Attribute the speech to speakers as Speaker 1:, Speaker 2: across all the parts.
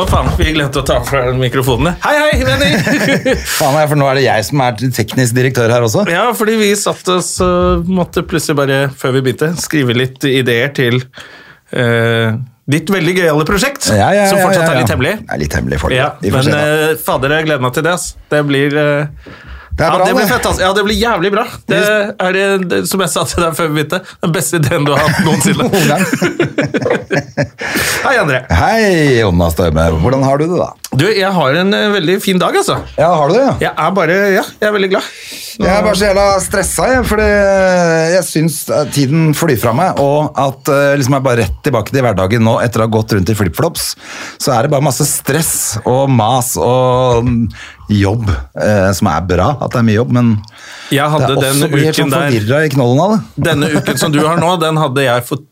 Speaker 1: Hva faen, vi glemte å ta fra den mikrofonen. Hei, hei, venner!
Speaker 2: Faen, jeg, for nå er det jeg som er teknisk direktør her også.
Speaker 1: ja, fordi vi satt oss og måtte plutselig bare, før vi begynte, skrive litt ideer til eh, ditt veldig gøyale prosjekt,
Speaker 2: Ja, ja, ja,
Speaker 1: som fortsatt
Speaker 2: ja, ja.
Speaker 1: er litt hemmelig.
Speaker 2: Det er litt hemmelig for
Speaker 1: Ja,
Speaker 2: Vi får
Speaker 1: men
Speaker 2: se, da.
Speaker 1: eh, fader, jeg gleder meg til det, ass. Det blir... eh,
Speaker 2: det er
Speaker 1: ja,
Speaker 2: bra,
Speaker 1: det
Speaker 2: det.
Speaker 1: blir fett, altså. ass. Ja, det blir jævlig bra. Det er det, det, som jeg sa til deg før vi begynte, den beste ideen du har hatt
Speaker 2: Noen
Speaker 1: noensinne.
Speaker 2: gang.
Speaker 1: Hei, André.
Speaker 2: Hei, Jonas Døme. Hvordan har du det, da?
Speaker 1: Du, jeg har en eh, veldig fin dag, altså.
Speaker 2: Ja, har du det?
Speaker 1: Jeg er bare, ja, jeg er veldig glad.
Speaker 2: Jeg er bare så jævla stressa, jeg, fordi eh, jeg syns at tiden flyr fra meg. Og at eh, liksom jeg er bare rett tilbake til hverdagen nå etter å ha gått rundt i flipflops. Så er det bare masse stress og mas og mm, jobb, eh, som er bra at det er mye jobb, men
Speaker 1: Jeg
Speaker 2: det
Speaker 1: hadde
Speaker 2: er også
Speaker 1: den
Speaker 2: blir helt
Speaker 1: uken
Speaker 2: sånn
Speaker 1: der...
Speaker 2: forvirra i knollen av det.
Speaker 1: Denne uken som du har nå, den hadde jeg for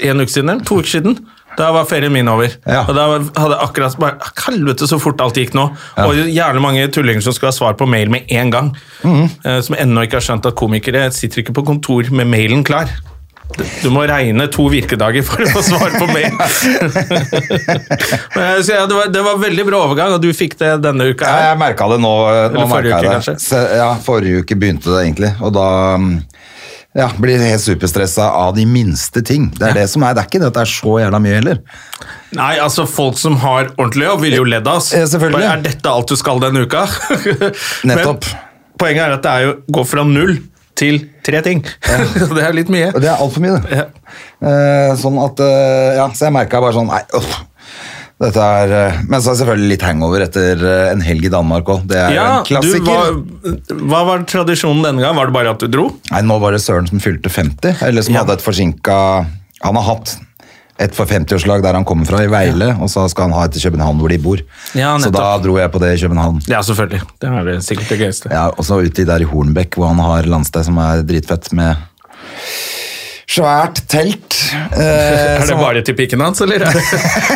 Speaker 1: en uke siden, eller to uker siden. Da var ferien min over.
Speaker 2: Ja.
Speaker 1: Og da hadde jeg akkurat bare, «Ah, Helvete, så fort alt gikk nå.
Speaker 2: Ja.
Speaker 1: Og jævlig mange tullinger som skal ha svar på mail med en gang.
Speaker 2: Mhm.
Speaker 1: eh, Som ennå ikke har skjønt at komikere sitter ikke på kontor med mailen klar. Du- Du må regne to virkedager for å få svar på mail. Men, jeg- så ja, det, var, det var veldig bra overgang, og du fikk det denne uka
Speaker 2: Ja,
Speaker 1: her.
Speaker 2: jeg merka det nå. eh, nå
Speaker 1: Eller forrige
Speaker 2: merket jeg
Speaker 1: uke,
Speaker 2: det.
Speaker 1: kanskje?
Speaker 2: Se- Ja, forrige uke begynte det egentlig, og da mm, ja, blir jeg helt superstressa av de minste ting. Det er det som er, det er ikke det at det er så jævla mye heller.
Speaker 1: Nei, altså folk som har ordentlig jobb vil jo ledd av oss.
Speaker 2: Ja, selvfølgelig.
Speaker 1: Bare, Er dette alt du skal denne uka?
Speaker 2: Nettopp.
Speaker 1: Men poenget er at det er jo gå fra null til tre ting. det er litt mye.
Speaker 2: Og det er altfor mye, det. Eh, sånn at eh, Ja, så jeg merka bare sånn Nei, uff. Dette er eh, Men så er det selvfølgelig litt hangover etter eh, en helg i Danmark òg. Det er jo
Speaker 1: Ja, du,
Speaker 2: en klassiker.
Speaker 1: hva, hva var tradisjonen denne gang? Var det bare at du dro?
Speaker 2: Nei, nå var det Søren som fylte 50, eller som
Speaker 1: Ja.
Speaker 2: hadde et forsinka Han har hatt et for 50-årslag der han kommer fra, i Veile, og så skal han ha et i København hvor de bor.
Speaker 1: Ja,
Speaker 2: så
Speaker 1: nettopp.
Speaker 2: da dro jeg på det i København.
Speaker 1: Ja, selvfølgelig. Det er det sikkert det gøyeste.
Speaker 2: Ja, og så uti der i Hornbekk, hvor han har landsted som er dritfett med svært telt. Eh,
Speaker 1: Er det
Speaker 2: som-
Speaker 1: bare til pikken hans, eller?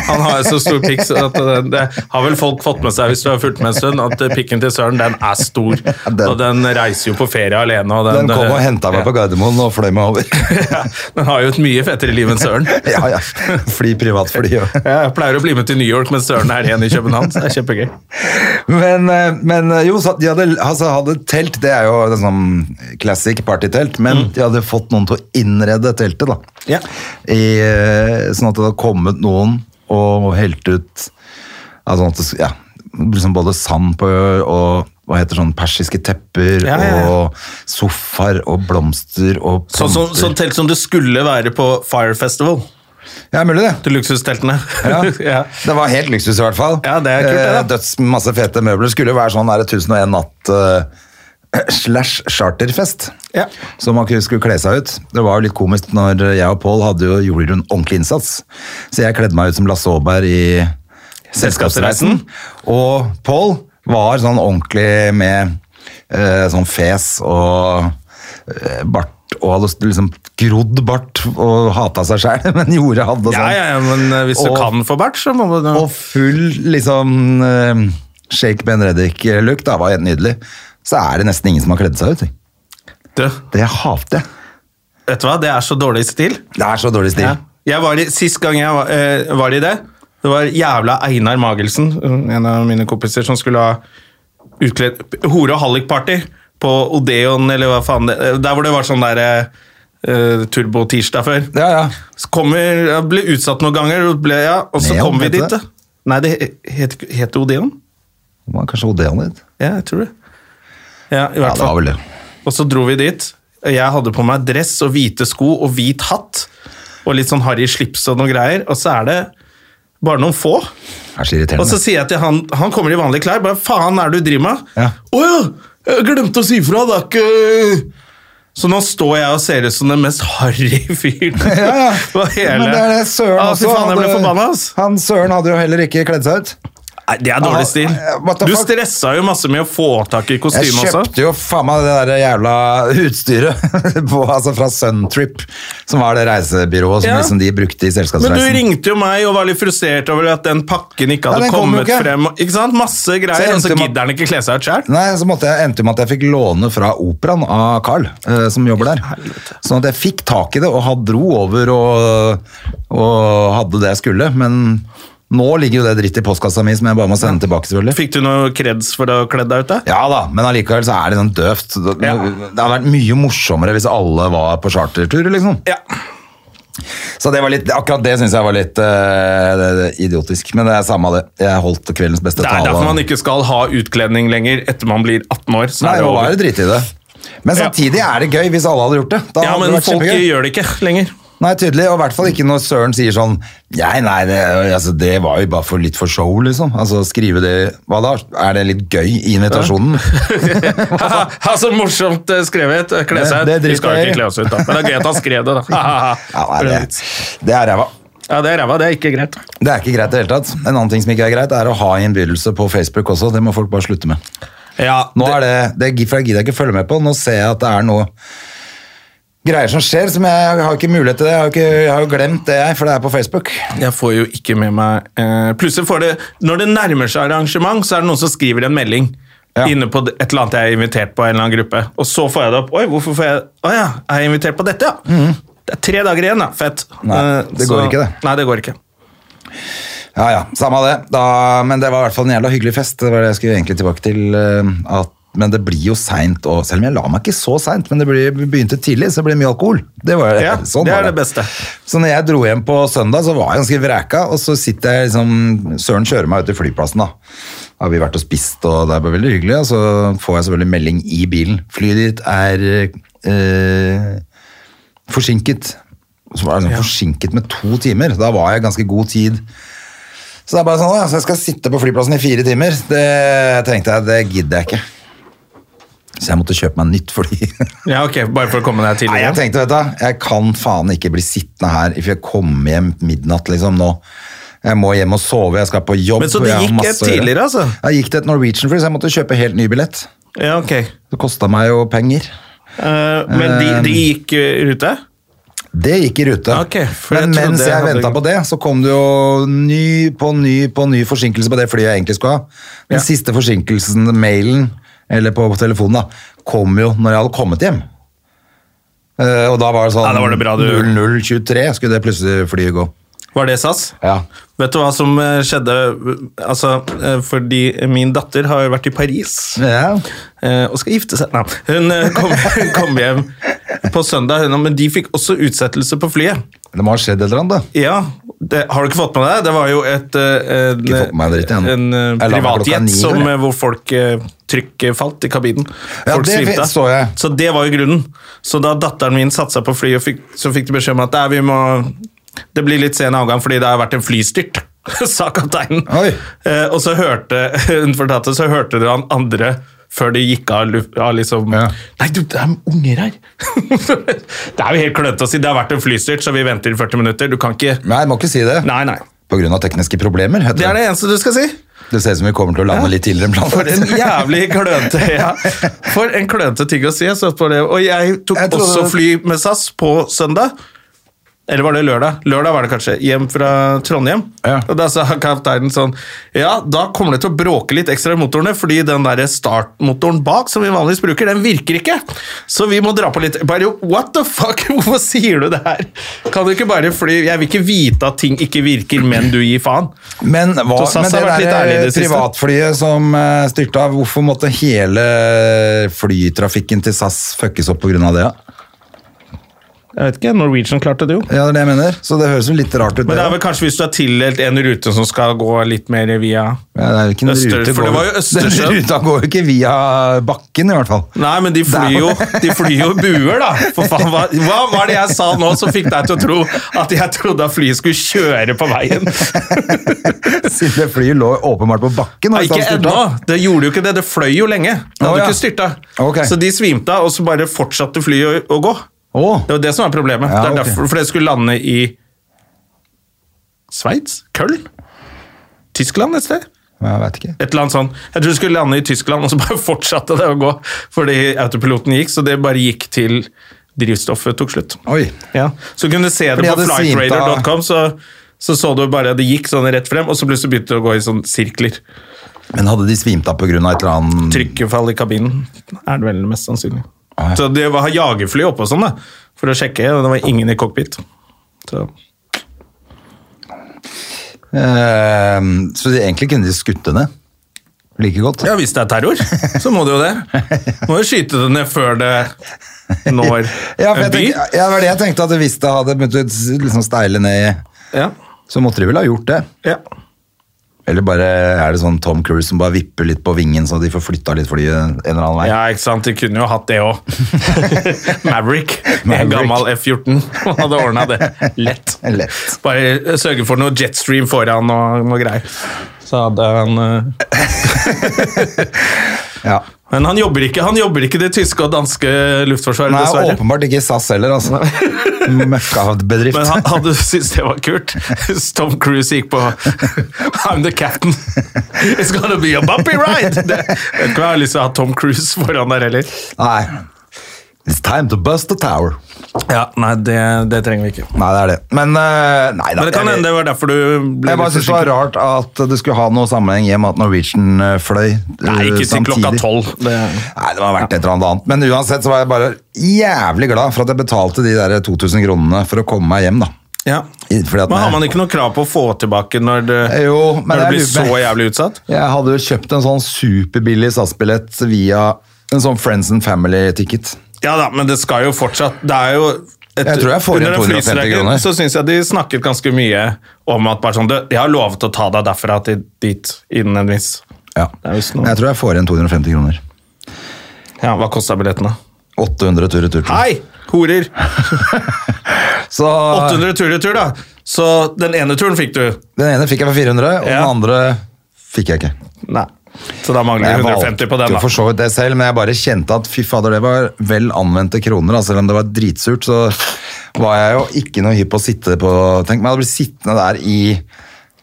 Speaker 1: Han har jo så stor pikk, så at det, det har vel folk fått med seg hvis du har fulgt med en stund, at eh, pikken til Søren, den er stor.
Speaker 2: den-
Speaker 1: og den reiser jo på ferie alene. Og den,
Speaker 2: Den kom og henta meg på Gardermoen og fløy meg over.
Speaker 1: Ja, Den har jo et mye fettere liv enn Søren.
Speaker 2: ja, ja. Fly privatfly. og-
Speaker 1: Jeg pleier å bli med til New York, men Søren er igjen i København. så det er kjempegøy.
Speaker 2: Men, eh, men eh, jo, så de hadde, altså, hadde telt, det er jo en sånn classic partytelt, men de hadde fått noen til å innrede teltet, da.
Speaker 1: Mm. Ja.
Speaker 2: I, eh, sånn at det hadde kommet noen og helt ut altså, sånn at, det s- ja, liksom både sand på og hva heter sånn persiske tepper
Speaker 1: Ja, ja, ja.
Speaker 2: og sofaer og blomster og
Speaker 1: Sånn som-
Speaker 2: planter.
Speaker 1: sånn telt som det skulle være på Fire Festival,
Speaker 2: Ja, mulig det.
Speaker 1: til luksusteltene.
Speaker 2: Ja.
Speaker 1: Ja.
Speaker 2: Det var helt luksus i hvert fall.
Speaker 1: Ja, det er kult, det, da.
Speaker 2: Eh, Døds masse fete møbler. Skulle jo være sånn der 1001 natt eh, slash charterfest.
Speaker 1: Ja.
Speaker 2: Så man kunne- skulle kle seg ut. Det var jo litt komisk når jeg og Pål hadde jo gjorde en ordentlig innsats. Så jeg kledde meg ut som Lasse Aaberg i Selskapsreisen. Og Pål var sånn ordentlig med eh, sånn fes og eh, bart og hadde liksom grodd bart og hata seg sjæl, men gjorde hadde sånn.
Speaker 1: Ja, ja, ja, men eh, hvis du
Speaker 2: Og-
Speaker 1: kan få bart, så må du
Speaker 2: og full liksom eh, Shake Ben Reddik-look, da var helt nydelig. Så er det nesten ingen som har kledd seg ut. jeg.
Speaker 1: Du,
Speaker 2: Det hater jeg.
Speaker 1: vet du hva? Det er så dårlig stil.
Speaker 2: Det er så dårlig stil.
Speaker 1: Ja. Jeg var i, sist gang jeg var, eh, var i det, det var jævla Einar Magelsen, en av mine kompiser, som skulle ha utkledd hore- og hallikparty på Odeon, eller hva faen det Der hvor det var sånn der eh, turbo-tirsdag før.
Speaker 2: Ja, ja.
Speaker 1: Så kommer, jeg ble utsatt noen ganger, og, ble, ja, og så
Speaker 2: Neon,
Speaker 1: kom vi
Speaker 2: heter
Speaker 1: dit.
Speaker 2: det?
Speaker 1: Da. Nei, det he- het, het det Odeon?
Speaker 2: Det var kanskje Odeon litt.
Speaker 1: Ja, jeg tror det. Ja, i
Speaker 2: Ja,
Speaker 1: hvert
Speaker 2: det var
Speaker 1: fall.
Speaker 2: vel det.
Speaker 1: Og så dro vi dit. Jeg hadde på meg dress og hvite sko og hvit hatt. Og litt sånn harry slips og noen greier. Og så er det bare noen få.
Speaker 2: Det er
Speaker 1: Og
Speaker 2: så
Speaker 1: så
Speaker 2: irriterende.
Speaker 1: sier jeg til han Han kommer i vanlige klær. Bare faen, er det du driver med?
Speaker 2: Ja.
Speaker 1: Å ja! Jeg glemte å si fra. Det er ikke Så nå står jeg og ser ut som den mest harry fyren.
Speaker 2: Ja, ja.
Speaker 1: På hele-
Speaker 2: Men det er det Søren
Speaker 1: Ah,
Speaker 2: også.
Speaker 1: Fy faen, jeg ble
Speaker 2: hadde-
Speaker 1: forbanna, ass.
Speaker 2: Han Søren hadde jo heller ikke kledd seg ut.
Speaker 1: Nei, det er dårlig stil.
Speaker 2: Ah, what the
Speaker 1: Du
Speaker 2: fuck?
Speaker 1: stressa jo masse med å få tak i
Speaker 2: Jeg
Speaker 1: kostyme også.
Speaker 2: kjøpte jo faen meg det der jævla utstyret på, altså fra Suntrip, som var det reisebyrået som
Speaker 1: Ja.
Speaker 2: liksom de brukte i
Speaker 1: Men du
Speaker 2: selskapsreisen.
Speaker 1: ringte jo meg og var litt frustrert over at den pakken ikke hadde
Speaker 2: Ja, den kom jo
Speaker 1: kommet
Speaker 2: ikke.
Speaker 1: frem. og- Ikke sant? Masse
Speaker 2: Så
Speaker 1: greier,
Speaker 2: jeg
Speaker 1: og så
Speaker 2: endte med-
Speaker 1: gidder han ikke kle seg ut sjøl.
Speaker 2: Nei, så måtte jeg, endte jo med at jeg fikk låne fra operaen av Carl, eh, som jobber der. Sånn at jeg fikk tak i det, og had- dro over og, og hadde det jeg skulle. Men nå ligger jo det dritt i postkassa mi, som jeg bare må sende tilbake, selvfølgelig.
Speaker 1: Fikk du noe kreds for å ha kledd deg ut, da?
Speaker 2: Ja da, men allikevel så er det sånn døvt. Det,
Speaker 1: Ja.
Speaker 2: det hadde vært mye morsommere hvis alle var på chartertur, liksom.
Speaker 1: Ja.
Speaker 2: Så det var litt, akkurat det syns jeg var litt eh, det, det, idiotisk. Men det er samme av det. Jeg holdt kveldens beste
Speaker 1: Det
Speaker 2: tale.
Speaker 1: er derfor man ikke skal ha utkledning lenger etter man blir 18 år. Så
Speaker 2: Nei,
Speaker 1: er det
Speaker 2: nå var
Speaker 1: over.
Speaker 2: det drit i det. Men
Speaker 1: Ja.
Speaker 2: samtidig er det gøy hvis alle hadde gjort det. Da
Speaker 1: Ja,
Speaker 2: hadde det
Speaker 1: men
Speaker 2: vært
Speaker 1: folk
Speaker 2: kjempegøy.
Speaker 1: gjør det ikke lenger.
Speaker 2: Nei, tydelig, og i hvert fall ikke når Søren sier sånn Nei, nei, det, altså, det var jo bare for litt for show, liksom. Altså, skrive det Hva da? Er det litt gøy i invitasjonen?
Speaker 1: Haha, så morsomt eh, skrevet. Kle seg
Speaker 2: Det- det
Speaker 1: ut. Vi
Speaker 2: driter
Speaker 1: skal jo
Speaker 2: jeg i.
Speaker 1: ikke kle oss ut, da. Men det er gøy at han skrev det, da. Haha.
Speaker 2: Ja, nei, det, det er ræva.
Speaker 1: Ja, det er ræva. Det er ikke greit.
Speaker 2: Det er ikke greit i det hele tatt. En annen ting som ikke er greit, er å ha innbydelse på Facebook også. Det må folk bare slutte med.
Speaker 1: Ja,
Speaker 2: Nå er det, det for jeg gidder jeg ikke følge med på. Nå ser jeg at det er noe greier som skjer, som jeg har ikke mulighet til det. Jeg har, ikke, jeg har jo glemt det, jeg, for det er på Facebook.
Speaker 1: Jeg får jo ikke med meg eh, Plutselig får det Når det nærmer seg arrangement, så er det noen som skriver en melding.
Speaker 2: Ja.
Speaker 1: Inne på et eller annet jeg er invitert på. en eller annen gruppe Og så får jeg det opp. Oi, hvorfor får jeg Å ja, er jeg invitert på dette, ja? Det er tre dager igjen, da. Fett.
Speaker 2: Mhm. Nei,
Speaker 1: Eh,
Speaker 2: det går ikke, det.
Speaker 1: Nei, det går ikke.
Speaker 2: Ja, ja, samme av det. Da, men det var i hvert fall en jævla hyggelig fest. Det var det jeg skulle egentlig tilbake til. eh, At, men det blir jo seint, og selv om jeg la meg ikke så seint, men det blir, begynte tidlig, så blir det mye alkohol. Det var
Speaker 1: Ja, det
Speaker 2: var
Speaker 1: er det beste.
Speaker 2: Så når jeg dro hjem på søndag, så var jeg ganske vreka, og så sitter jeg liksom Søren kjører meg ut til flyplassen, da. Da har vi vært og spist, og det er bare veldig hyggelig. Og så får jeg selvfølgelig melding i bilen. Flyet ditt er eh, forsinket. Og Så var jeg sånn forsinket med to timer. Da var jeg ganske god tid. Så det er bare sånn, «Å, ja, så jeg skal sitte på flyplassen i fire timer. Det tenkte jeg, det gidder jeg ikke. Så jeg måtte kjøpe meg nytt fly.
Speaker 1: Ja, ok, Bare for å komme deg
Speaker 2: Nei,
Speaker 1: tidligere.
Speaker 2: jeg tenkte, vet du, jeg kan faen ikke bli sittende her for jeg kommer hjem midnatt liksom nå. Jeg må hjem og sove, jeg skal på jobb.
Speaker 1: Men så det
Speaker 2: jeg har
Speaker 1: gikk
Speaker 2: masse
Speaker 1: et
Speaker 2: å gjøre.
Speaker 1: tidligere, altså?
Speaker 2: Ja, gikk det et Norwegian fly, så jeg måtte kjøpe helt ny billett.
Speaker 1: ja, ok
Speaker 2: Det kosta meg jo penger.
Speaker 1: Eh, Men de,
Speaker 2: Um.
Speaker 1: de gikk eh, i rute?
Speaker 2: Det gikk i rute.
Speaker 1: Ok, for jeg
Speaker 2: Men
Speaker 1: trodde
Speaker 2: mens
Speaker 1: jeg
Speaker 2: jeg
Speaker 1: hadde-
Speaker 2: venta på det, så kom det jo ny på ny på ny forsinkelse på det flyet jeg egentlig skulle ha. Den
Speaker 1: Ja.
Speaker 2: siste forsinkelsen, mailen, eller på, på telefonen, da, kom jo når jeg hadde kommet hjem. Eh, og da var det sånn
Speaker 1: Ja, da var det bra du-
Speaker 2: 0023 skulle det plutselig flyet gå.
Speaker 1: Var det SAS?
Speaker 2: Ja.
Speaker 1: Vet du hva som eh, skjedde eh, Altså, eh, fordi min datter har jo vært i Paris.
Speaker 2: Ja.
Speaker 1: eh, og skal gifte seg. Nei, hun eh, kom, hun kom hjem på søndag, hun, men de fikk også utsettelse på flyet.
Speaker 2: Det må ha skjedd et eller annet, da.
Speaker 1: Ja, det, Har du ikke fått med deg det? Det var jo et, eh, en,
Speaker 2: Ikke fått med meg dritt, jeg.
Speaker 1: en eh,
Speaker 2: Jeg la meg klokka
Speaker 1: privatjet
Speaker 2: ni,
Speaker 1: som,
Speaker 2: eller?
Speaker 1: eh, hvor folk eh, trykket falt i kabinen.
Speaker 2: Ja,
Speaker 1: Folk
Speaker 2: det
Speaker 1: svimte.
Speaker 2: vet- så jeg.
Speaker 1: Så det var jo grunnen. Så da datteren min satte seg på flyet, og fikk, så fikk de beskjed om at "Nei, vi må, det blir litt sen avgang fordi det har vært en flystyrt. sa kapteinen.
Speaker 2: Oi.
Speaker 1: Eh, og så hørte hun fortalte, så hørte du han andre før de gikk av, lu- av liksom
Speaker 2: Ja.
Speaker 1: Nei, du, det er unger her! det er jo helt klønete å si. Det har vært en flystyrt, så vi venter i 40 minutter. Du kan ikke
Speaker 2: Nei, jeg må ikke si det.
Speaker 1: Nei, nei.
Speaker 2: På grunn av tekniske problemer, heter
Speaker 1: Det er
Speaker 2: det.
Speaker 1: det eneste du skal si.
Speaker 2: Det ser ut som vi kommer til å lande litt tidligere enn
Speaker 1: For en
Speaker 2: planlagt.
Speaker 1: jævlig klønete ja. For en klønete ting å si. Jeg satt på det. Og jeg tok
Speaker 2: Jeg trodde
Speaker 1: også
Speaker 2: det-
Speaker 1: fly med SAS på søndag. Eller var det lørdag? Lørdag var det kanskje. Hjem fra Trondheim.
Speaker 2: Ja.
Speaker 1: Og da sa kapteinen sånn Ja, da kommer det til å bråke litt ekstra i motorene, fordi den der startmotoren bak, som vi vanligvis bruker, den virker ikke. Så vi må dra på litt. Bare jo, what the fuck? Hvorfor sier du det her? Kan du ikke bare fly Jeg vil ikke vite at ting ikke virker, men du gir faen.
Speaker 2: Men, hva,
Speaker 1: Så SAS
Speaker 2: men det
Speaker 1: har vært litt ærlig i
Speaker 2: der
Speaker 1: det siste.
Speaker 2: privatflyet som eh, styrta, hvorfor måtte hele flytrafikken til SAS fuckes opp på grunn av det?
Speaker 1: Jeg vet ikke, Norwegian klarte det jo.
Speaker 2: Ja, det er det jeg mener. Så det høres jo litt rart ut.
Speaker 1: Men det er
Speaker 2: da.
Speaker 1: vel kanskje hvis du har tildelt en rute som skal gå litt mer via
Speaker 2: ja, det er jo ikke noen
Speaker 1: Øster-
Speaker 2: rute
Speaker 1: for det
Speaker 2: går-
Speaker 1: var jo Østersjøen.
Speaker 2: Den ruta går jo ikke via bakken, i hvert fall.
Speaker 1: Nei, men de flyr jo, de flyr jo buer, da! For faen, hva, hva var det jeg sa nå som fikk deg til å tro at jeg trodde at flyet skulle kjøre på veien?
Speaker 2: Siden det flyet lå åpenbart på bakken.
Speaker 1: Nei,
Speaker 2: og så
Speaker 1: ikke
Speaker 2: styrta.
Speaker 1: ennå! Det gjorde jo ikke det. Det fløy jo lenge. Det
Speaker 2: Å,
Speaker 1: hadde
Speaker 2: ja.
Speaker 1: ikke styrta.
Speaker 2: Ok.
Speaker 1: Så de svimte av, og så bare fortsatte flyet å, å gå.
Speaker 2: Å.
Speaker 1: Det var det som var problemet.
Speaker 2: Ja,
Speaker 1: det er
Speaker 2: ok.
Speaker 1: derfor, for det skulle lande i Sveits? Køln? Tyskland et sted?
Speaker 2: Ja, Jeg vet ikke.
Speaker 1: Et eller annet sånn. Jeg tror det skulle lande i Tyskland, og så bare fortsatte det å gå fordi autopiloten gikk, så det bare gikk til drivstoffet tok slutt.
Speaker 2: Oi.
Speaker 1: Ja. Så kunne du se det på
Speaker 2: Fordi jeg hadde svimt av-
Speaker 1: flightradar.com, så, så så du bare at det gikk sånn rett frem, og så plutselig begynte det å gå i sånn sirkler.
Speaker 2: Men hadde de svimt av pga. et eller annet
Speaker 1: Trykkefall i kabinen er det vel mest sannsynlig.
Speaker 2: Ah, ja.
Speaker 1: Så det var jagerfly oppe og sånn, da, for å sjekke, og det var ingen i cockpit. Så.
Speaker 2: Eh, Så de- egentlig kunne de skutt det ned. Like godt.
Speaker 1: Ja, hvis det er terror, så må du jo det. Må jo skyte det ned før det når
Speaker 2: Ja, for
Speaker 1: en
Speaker 2: jeg
Speaker 1: by.
Speaker 2: tenker, ja, det var det jeg tenkte, at hvis det hadde begynt å s- liksom steile ned,
Speaker 1: Ja,
Speaker 2: så måtte de vel ha gjort det.
Speaker 1: ja.
Speaker 2: Eller bare er det sånn Tom Cruise som bare vipper litt på vingen, så de får flytta litt flyet en eller annen vei.
Speaker 1: ja, ikke sant? De kunne jo hatt det òg. Maverick. En
Speaker 2: Maverick.
Speaker 1: gammel F-14. Han hadde ordna det lett.
Speaker 2: Lett.
Speaker 1: Bare sørge for noe jetstream foran og noe greier. Så hadde han eh,
Speaker 2: Ja.
Speaker 1: Men han jobber ikke Han jobber ikke det tyske og danske luftforsvaret,
Speaker 2: Nei,
Speaker 1: dessverre.
Speaker 2: åpenbart ikke SAS heller, altså. Møkkabedrift.
Speaker 1: Men han hadde syntes det var kult. Tom Cruise gikk på I'm the captain. It's gonna be a bumpy ride! Det, jeg vet ikke om jeg har lyst til å ha Tom Cruise foran der heller.
Speaker 2: Nei. It's time to bust the tower.
Speaker 1: Ja, Nei, det, det trenger vi ikke.
Speaker 2: Nei, det er det. Men eh, nei da.
Speaker 1: Men det kan
Speaker 2: jeg-
Speaker 1: hende det var derfor du ble
Speaker 2: Jeg bare synes det var rart at det skulle ha noe sammenheng i og med at Norwegian eh, fløy eh,
Speaker 1: Nei, ikke til klokka
Speaker 2: samtidig.
Speaker 1: tolv. Det-
Speaker 2: Nei, det må ha vært et eller annet annet. Men uansett så var jeg bare jævlig glad for at jeg betalte de der 2000 kronene for å komme meg hjem, da.
Speaker 1: Ja.
Speaker 2: I- Fordi at
Speaker 1: Men har man ikke noe krav på å få tilbake når det,
Speaker 2: Eh, Jo, men
Speaker 1: når det
Speaker 2: jeg
Speaker 1: blir
Speaker 2: lurer-
Speaker 1: så jævlig utsatt?
Speaker 2: Jeg hadde jo kjøpt en sånn superbillig SAS-billett via en sånn Friends and Family-ticket.
Speaker 1: Ja da, men det skal jo fortsatt Det er jo et,
Speaker 2: Jeg tror jeg får igjen
Speaker 1: under en
Speaker 2: 250
Speaker 1: flystreiken
Speaker 2: kroner.
Speaker 1: Så syns jeg de snakket ganske mye om at bare sånn «Du, Jeg har lovet å ta deg derfra til dit innen en viss
Speaker 2: Ja.
Speaker 1: Det er visst noe.
Speaker 2: Men Jeg tror jeg får igjen 250 kroner.
Speaker 1: Ja, hva kosta billettene?
Speaker 2: 800 tur retur.
Speaker 1: Hei, horer!
Speaker 2: Så
Speaker 1: 800 tur-retur, da. Så den ene turen fikk du.
Speaker 2: den ene fikk jeg for 400, og
Speaker 1: Ja.
Speaker 2: den andre fikk jeg ikke.
Speaker 1: Nei. Så da mangler
Speaker 2: Jeg
Speaker 1: du
Speaker 2: valgte
Speaker 1: 150 på den,
Speaker 2: jo for
Speaker 1: da.
Speaker 2: så vidt det selv, men jeg bare kjente at fy fader, det var vel anvendte kroner. da. Selv om det var dritsurt, så var jeg jo ikke noe hypp på å sitte på Tenk meg å bli sittende der i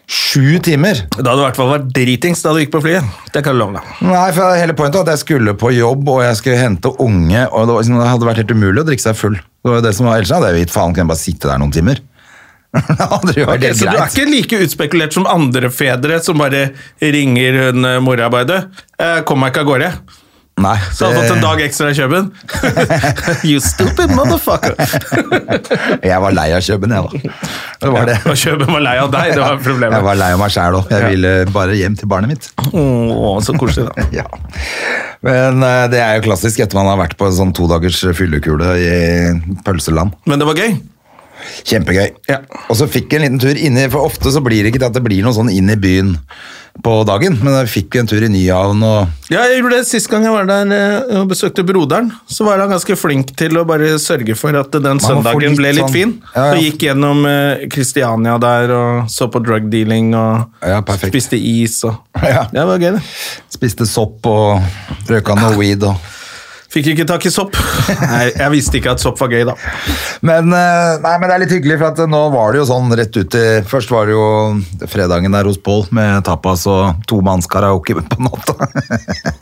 Speaker 2: sju timer!
Speaker 1: Da hadde du i hvert fall vært dritings da du gikk på flyet. Det kan jeg love deg.
Speaker 2: Nei, for hele pointet var at jeg skulle på jobb, og jeg skulle hente unge, og det, var, liksom, det hadde vært helt umulig å drikke seg full. Det var jo det som var, Ellers hadde jeg jo gitt faen, kunne jeg bare sitte der noen timer. Det hadde jo vært
Speaker 1: Ok,
Speaker 2: helt
Speaker 1: så du er
Speaker 2: greit.
Speaker 1: ikke like utspekulert som andre fedre som bare ringer hun eh, mora bare du, eh, kom meg ikke av gårde.
Speaker 2: Nei,
Speaker 1: Så hadde jeg fått en dag
Speaker 2: det-
Speaker 1: ekstra i Kjøben. you stupid motherfucker!
Speaker 2: jeg var lei av Køben, jeg, da. Det var det.
Speaker 1: Og Kjøben var lei av deg, det var
Speaker 2: Jeg
Speaker 1: problemet.
Speaker 2: var lei av meg sjæl òg. Jeg ville bare hjem til barnet mitt.
Speaker 1: Åh, så koselig, da.
Speaker 2: Ja. Men eh, det er jo klassisk etter man har vært på en sånn to dagers fyllekule i pølseland.
Speaker 1: Men det var gøy.
Speaker 2: Kjempegøy.
Speaker 1: Ja.
Speaker 2: Og så fikk jeg en liten tur inni, for ofte så blir det ikke til at det blir noe sånn inn i byen på dagen, men jeg fikk jo en tur i Nyhavn og
Speaker 1: Ja, jeg gjorde det Sist gang jeg var der eh, og besøkte broderen, så var han ganske flink til å bare sørge for at den
Speaker 2: får
Speaker 1: søndagen
Speaker 2: litt
Speaker 1: ble litt
Speaker 2: sånn-
Speaker 1: fin.
Speaker 2: Ja, ja.
Speaker 1: Og gikk gjennom eh, Kristiania der og så på drug dealing og
Speaker 2: Ja, perfekt.
Speaker 1: spiste is og
Speaker 2: Ja.
Speaker 1: Det var gøy, det.
Speaker 2: spiste sopp og røyka noe weed og
Speaker 1: Fikk ikke tak i sopp. Nei, jeg visste ikke at sopp var gøy, da.
Speaker 2: Men, eh, nei, men det er litt hyggelig, for at eh, nå var det jo sånn rett ut i Først var det jo fredagen der hos Pål med tapas og tomannskaraoke på natta.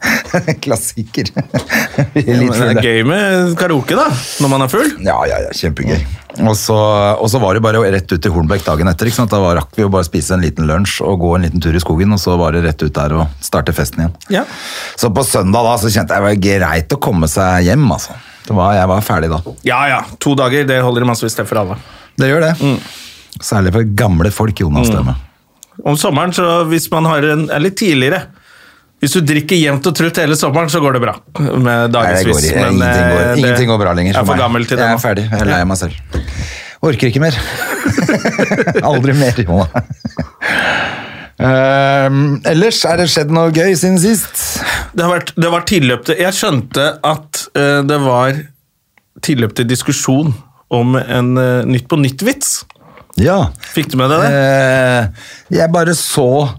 Speaker 2: Klassiker. Vi er
Speaker 1: Men
Speaker 2: litt
Speaker 1: det
Speaker 2: fulle.
Speaker 1: er gøy med karaoke, da, når man er full.
Speaker 2: Ja, ja, ja, kjempegøy. Og så, og så var det bare rett ut til Hornbæk dagen etter. ikke sant? Da var- rakk vi jo bare å spise en liten lunsj og gå en liten tur i skogen, og så var det rett ut der og starte festen igjen.
Speaker 1: Ja.
Speaker 2: Så på søndag da, så kjente jeg det var greit å komme seg hjem, altså. Det var, jeg var ferdig da.
Speaker 1: ja ja, to dager det holder i massevis det for alle.
Speaker 2: Det gjør det. Særlig for gamle folk, Jonas Stemme.
Speaker 1: Om sommeren, så hvis man har en er litt tidligere Hvis du drikker jevnt og trutt hele sommeren, så går det bra. Med
Speaker 2: Nei, det går,
Speaker 1: dagevis.
Speaker 2: ikke.
Speaker 1: men,
Speaker 2: ingenting, går,
Speaker 1: eh, det-
Speaker 2: ingenting går bra lenger.
Speaker 1: Jeg er
Speaker 2: for
Speaker 1: for
Speaker 2: meg.
Speaker 1: gammel til det
Speaker 2: Jeg
Speaker 1: nå.
Speaker 2: er ferdig. Jeg er lei meg selv. Orker ikke mer. Aldri mer. Mona. Ehm, ellers, er det skjedd noe gøy siden sist?
Speaker 1: Det, har vært, det var tilløp til Jeg skjønte at eh, det var tilløp til diskusjon om en eh, Nytt på nytt-vits.
Speaker 2: Ja.
Speaker 1: Fikk du med deg det?
Speaker 2: Eh, jeg bare så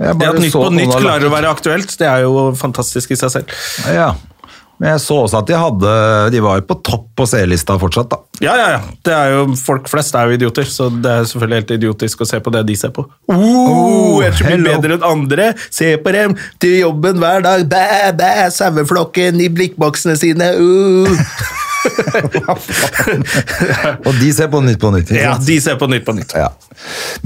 Speaker 2: jeg
Speaker 1: det
Speaker 2: bare
Speaker 1: at Nytt
Speaker 2: så
Speaker 1: på
Speaker 2: at noen
Speaker 1: nytt
Speaker 2: hadde
Speaker 1: klarer å
Speaker 2: lagt-
Speaker 1: være aktuelt, det er jo fantastisk i seg selv.
Speaker 2: Ja. Men jeg så også at de hadde De var jo på topp på seerlista fortsatt, da.
Speaker 1: Ja, ja, ja. Det er jo, folk flest er jo idioter, så det er selvfølgelig helt idiotisk å se på det de ser på. Oh, jeg tror vi er
Speaker 2: hello.
Speaker 1: bedre enn andre. Se på dem til jobben hver dag. Bæ, bæ, saueflokken i blikkboksene sine. Uh.
Speaker 2: Og de ser på Nytt på Nytt. ikke
Speaker 1: Ja,
Speaker 2: sant?
Speaker 1: de ser på Nytt på nytt.
Speaker 2: Ja.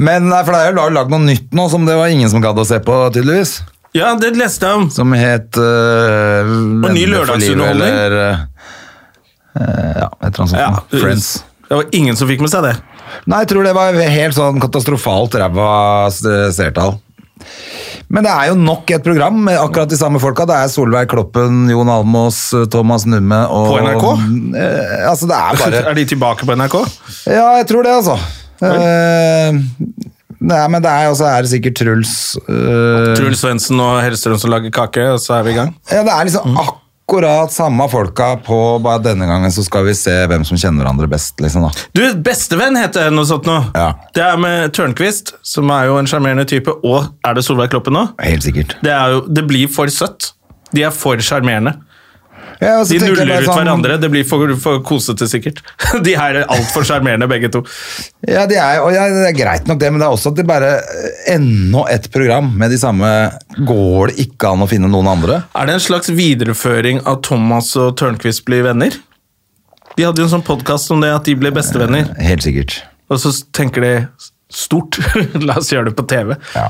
Speaker 2: Men nei, for det er jo lagd noe nytt nå som det var ingen som gadd å se på, tydeligvis.
Speaker 1: Ja, det leste jeg om.
Speaker 2: Som het uh,
Speaker 1: Og ny lørdagsunderholdning.
Speaker 2: Eller, eh, ja, et eller annet sånt.
Speaker 1: Ja,
Speaker 2: noe. Friends.
Speaker 1: Det var ingen som fikk med seg det.
Speaker 2: Nei, jeg tror det var helt sånn katastrofalt ræva s- eh, seertall. Men det er jo nok et program med akkurat de samme folka. Det er Solveig Kloppen, Jon Almås, Thomas Numme og
Speaker 1: På NRK?
Speaker 2: Eh, altså, det er bare
Speaker 1: Er de tilbake på NRK?
Speaker 2: Ja, jeg tror det, altså. Eh, nei, men det er, altså, er det sikkert Truls eh,
Speaker 1: Truls Svendsen og Hellstrøm som lager kake, og så er vi i gang.
Speaker 2: Ja, det er
Speaker 1: Mm.
Speaker 2: liksom akkurat samme folka på bare denne gangen, så skal vi se hvem som kjenner hverandre best, liksom, da.
Speaker 1: Du, Bestevenn heter det noe sånt nå.
Speaker 2: Ja.
Speaker 1: Det er med Tørnquist, som er jo en sjarmerende type, og er det Solveig Kloppen nå?
Speaker 2: Helt sikkert.
Speaker 1: Det, er jo, det blir for søtt. De er for sjarmerende.
Speaker 2: Ja, og så
Speaker 1: De
Speaker 2: tenker jeg
Speaker 1: nuller
Speaker 2: bare
Speaker 1: ut
Speaker 2: sånn-
Speaker 1: hverandre. Det blir for, for kosete, sikkert. De her er altfor sjarmerende, begge to.
Speaker 2: Ja, de er, og ja, det er greit nok det, men det er også at det bare eh, Enda et program med de samme Går det ikke an å finne noen andre?
Speaker 1: Er det en slags videreføring av Thomas og Tørnquist blir venner? De hadde jo en sånn podkast om det, at de ble bestevenner.
Speaker 2: Helt sikkert.
Speaker 1: Og så tenker de stort. La oss gjøre det på TV.
Speaker 2: Ja.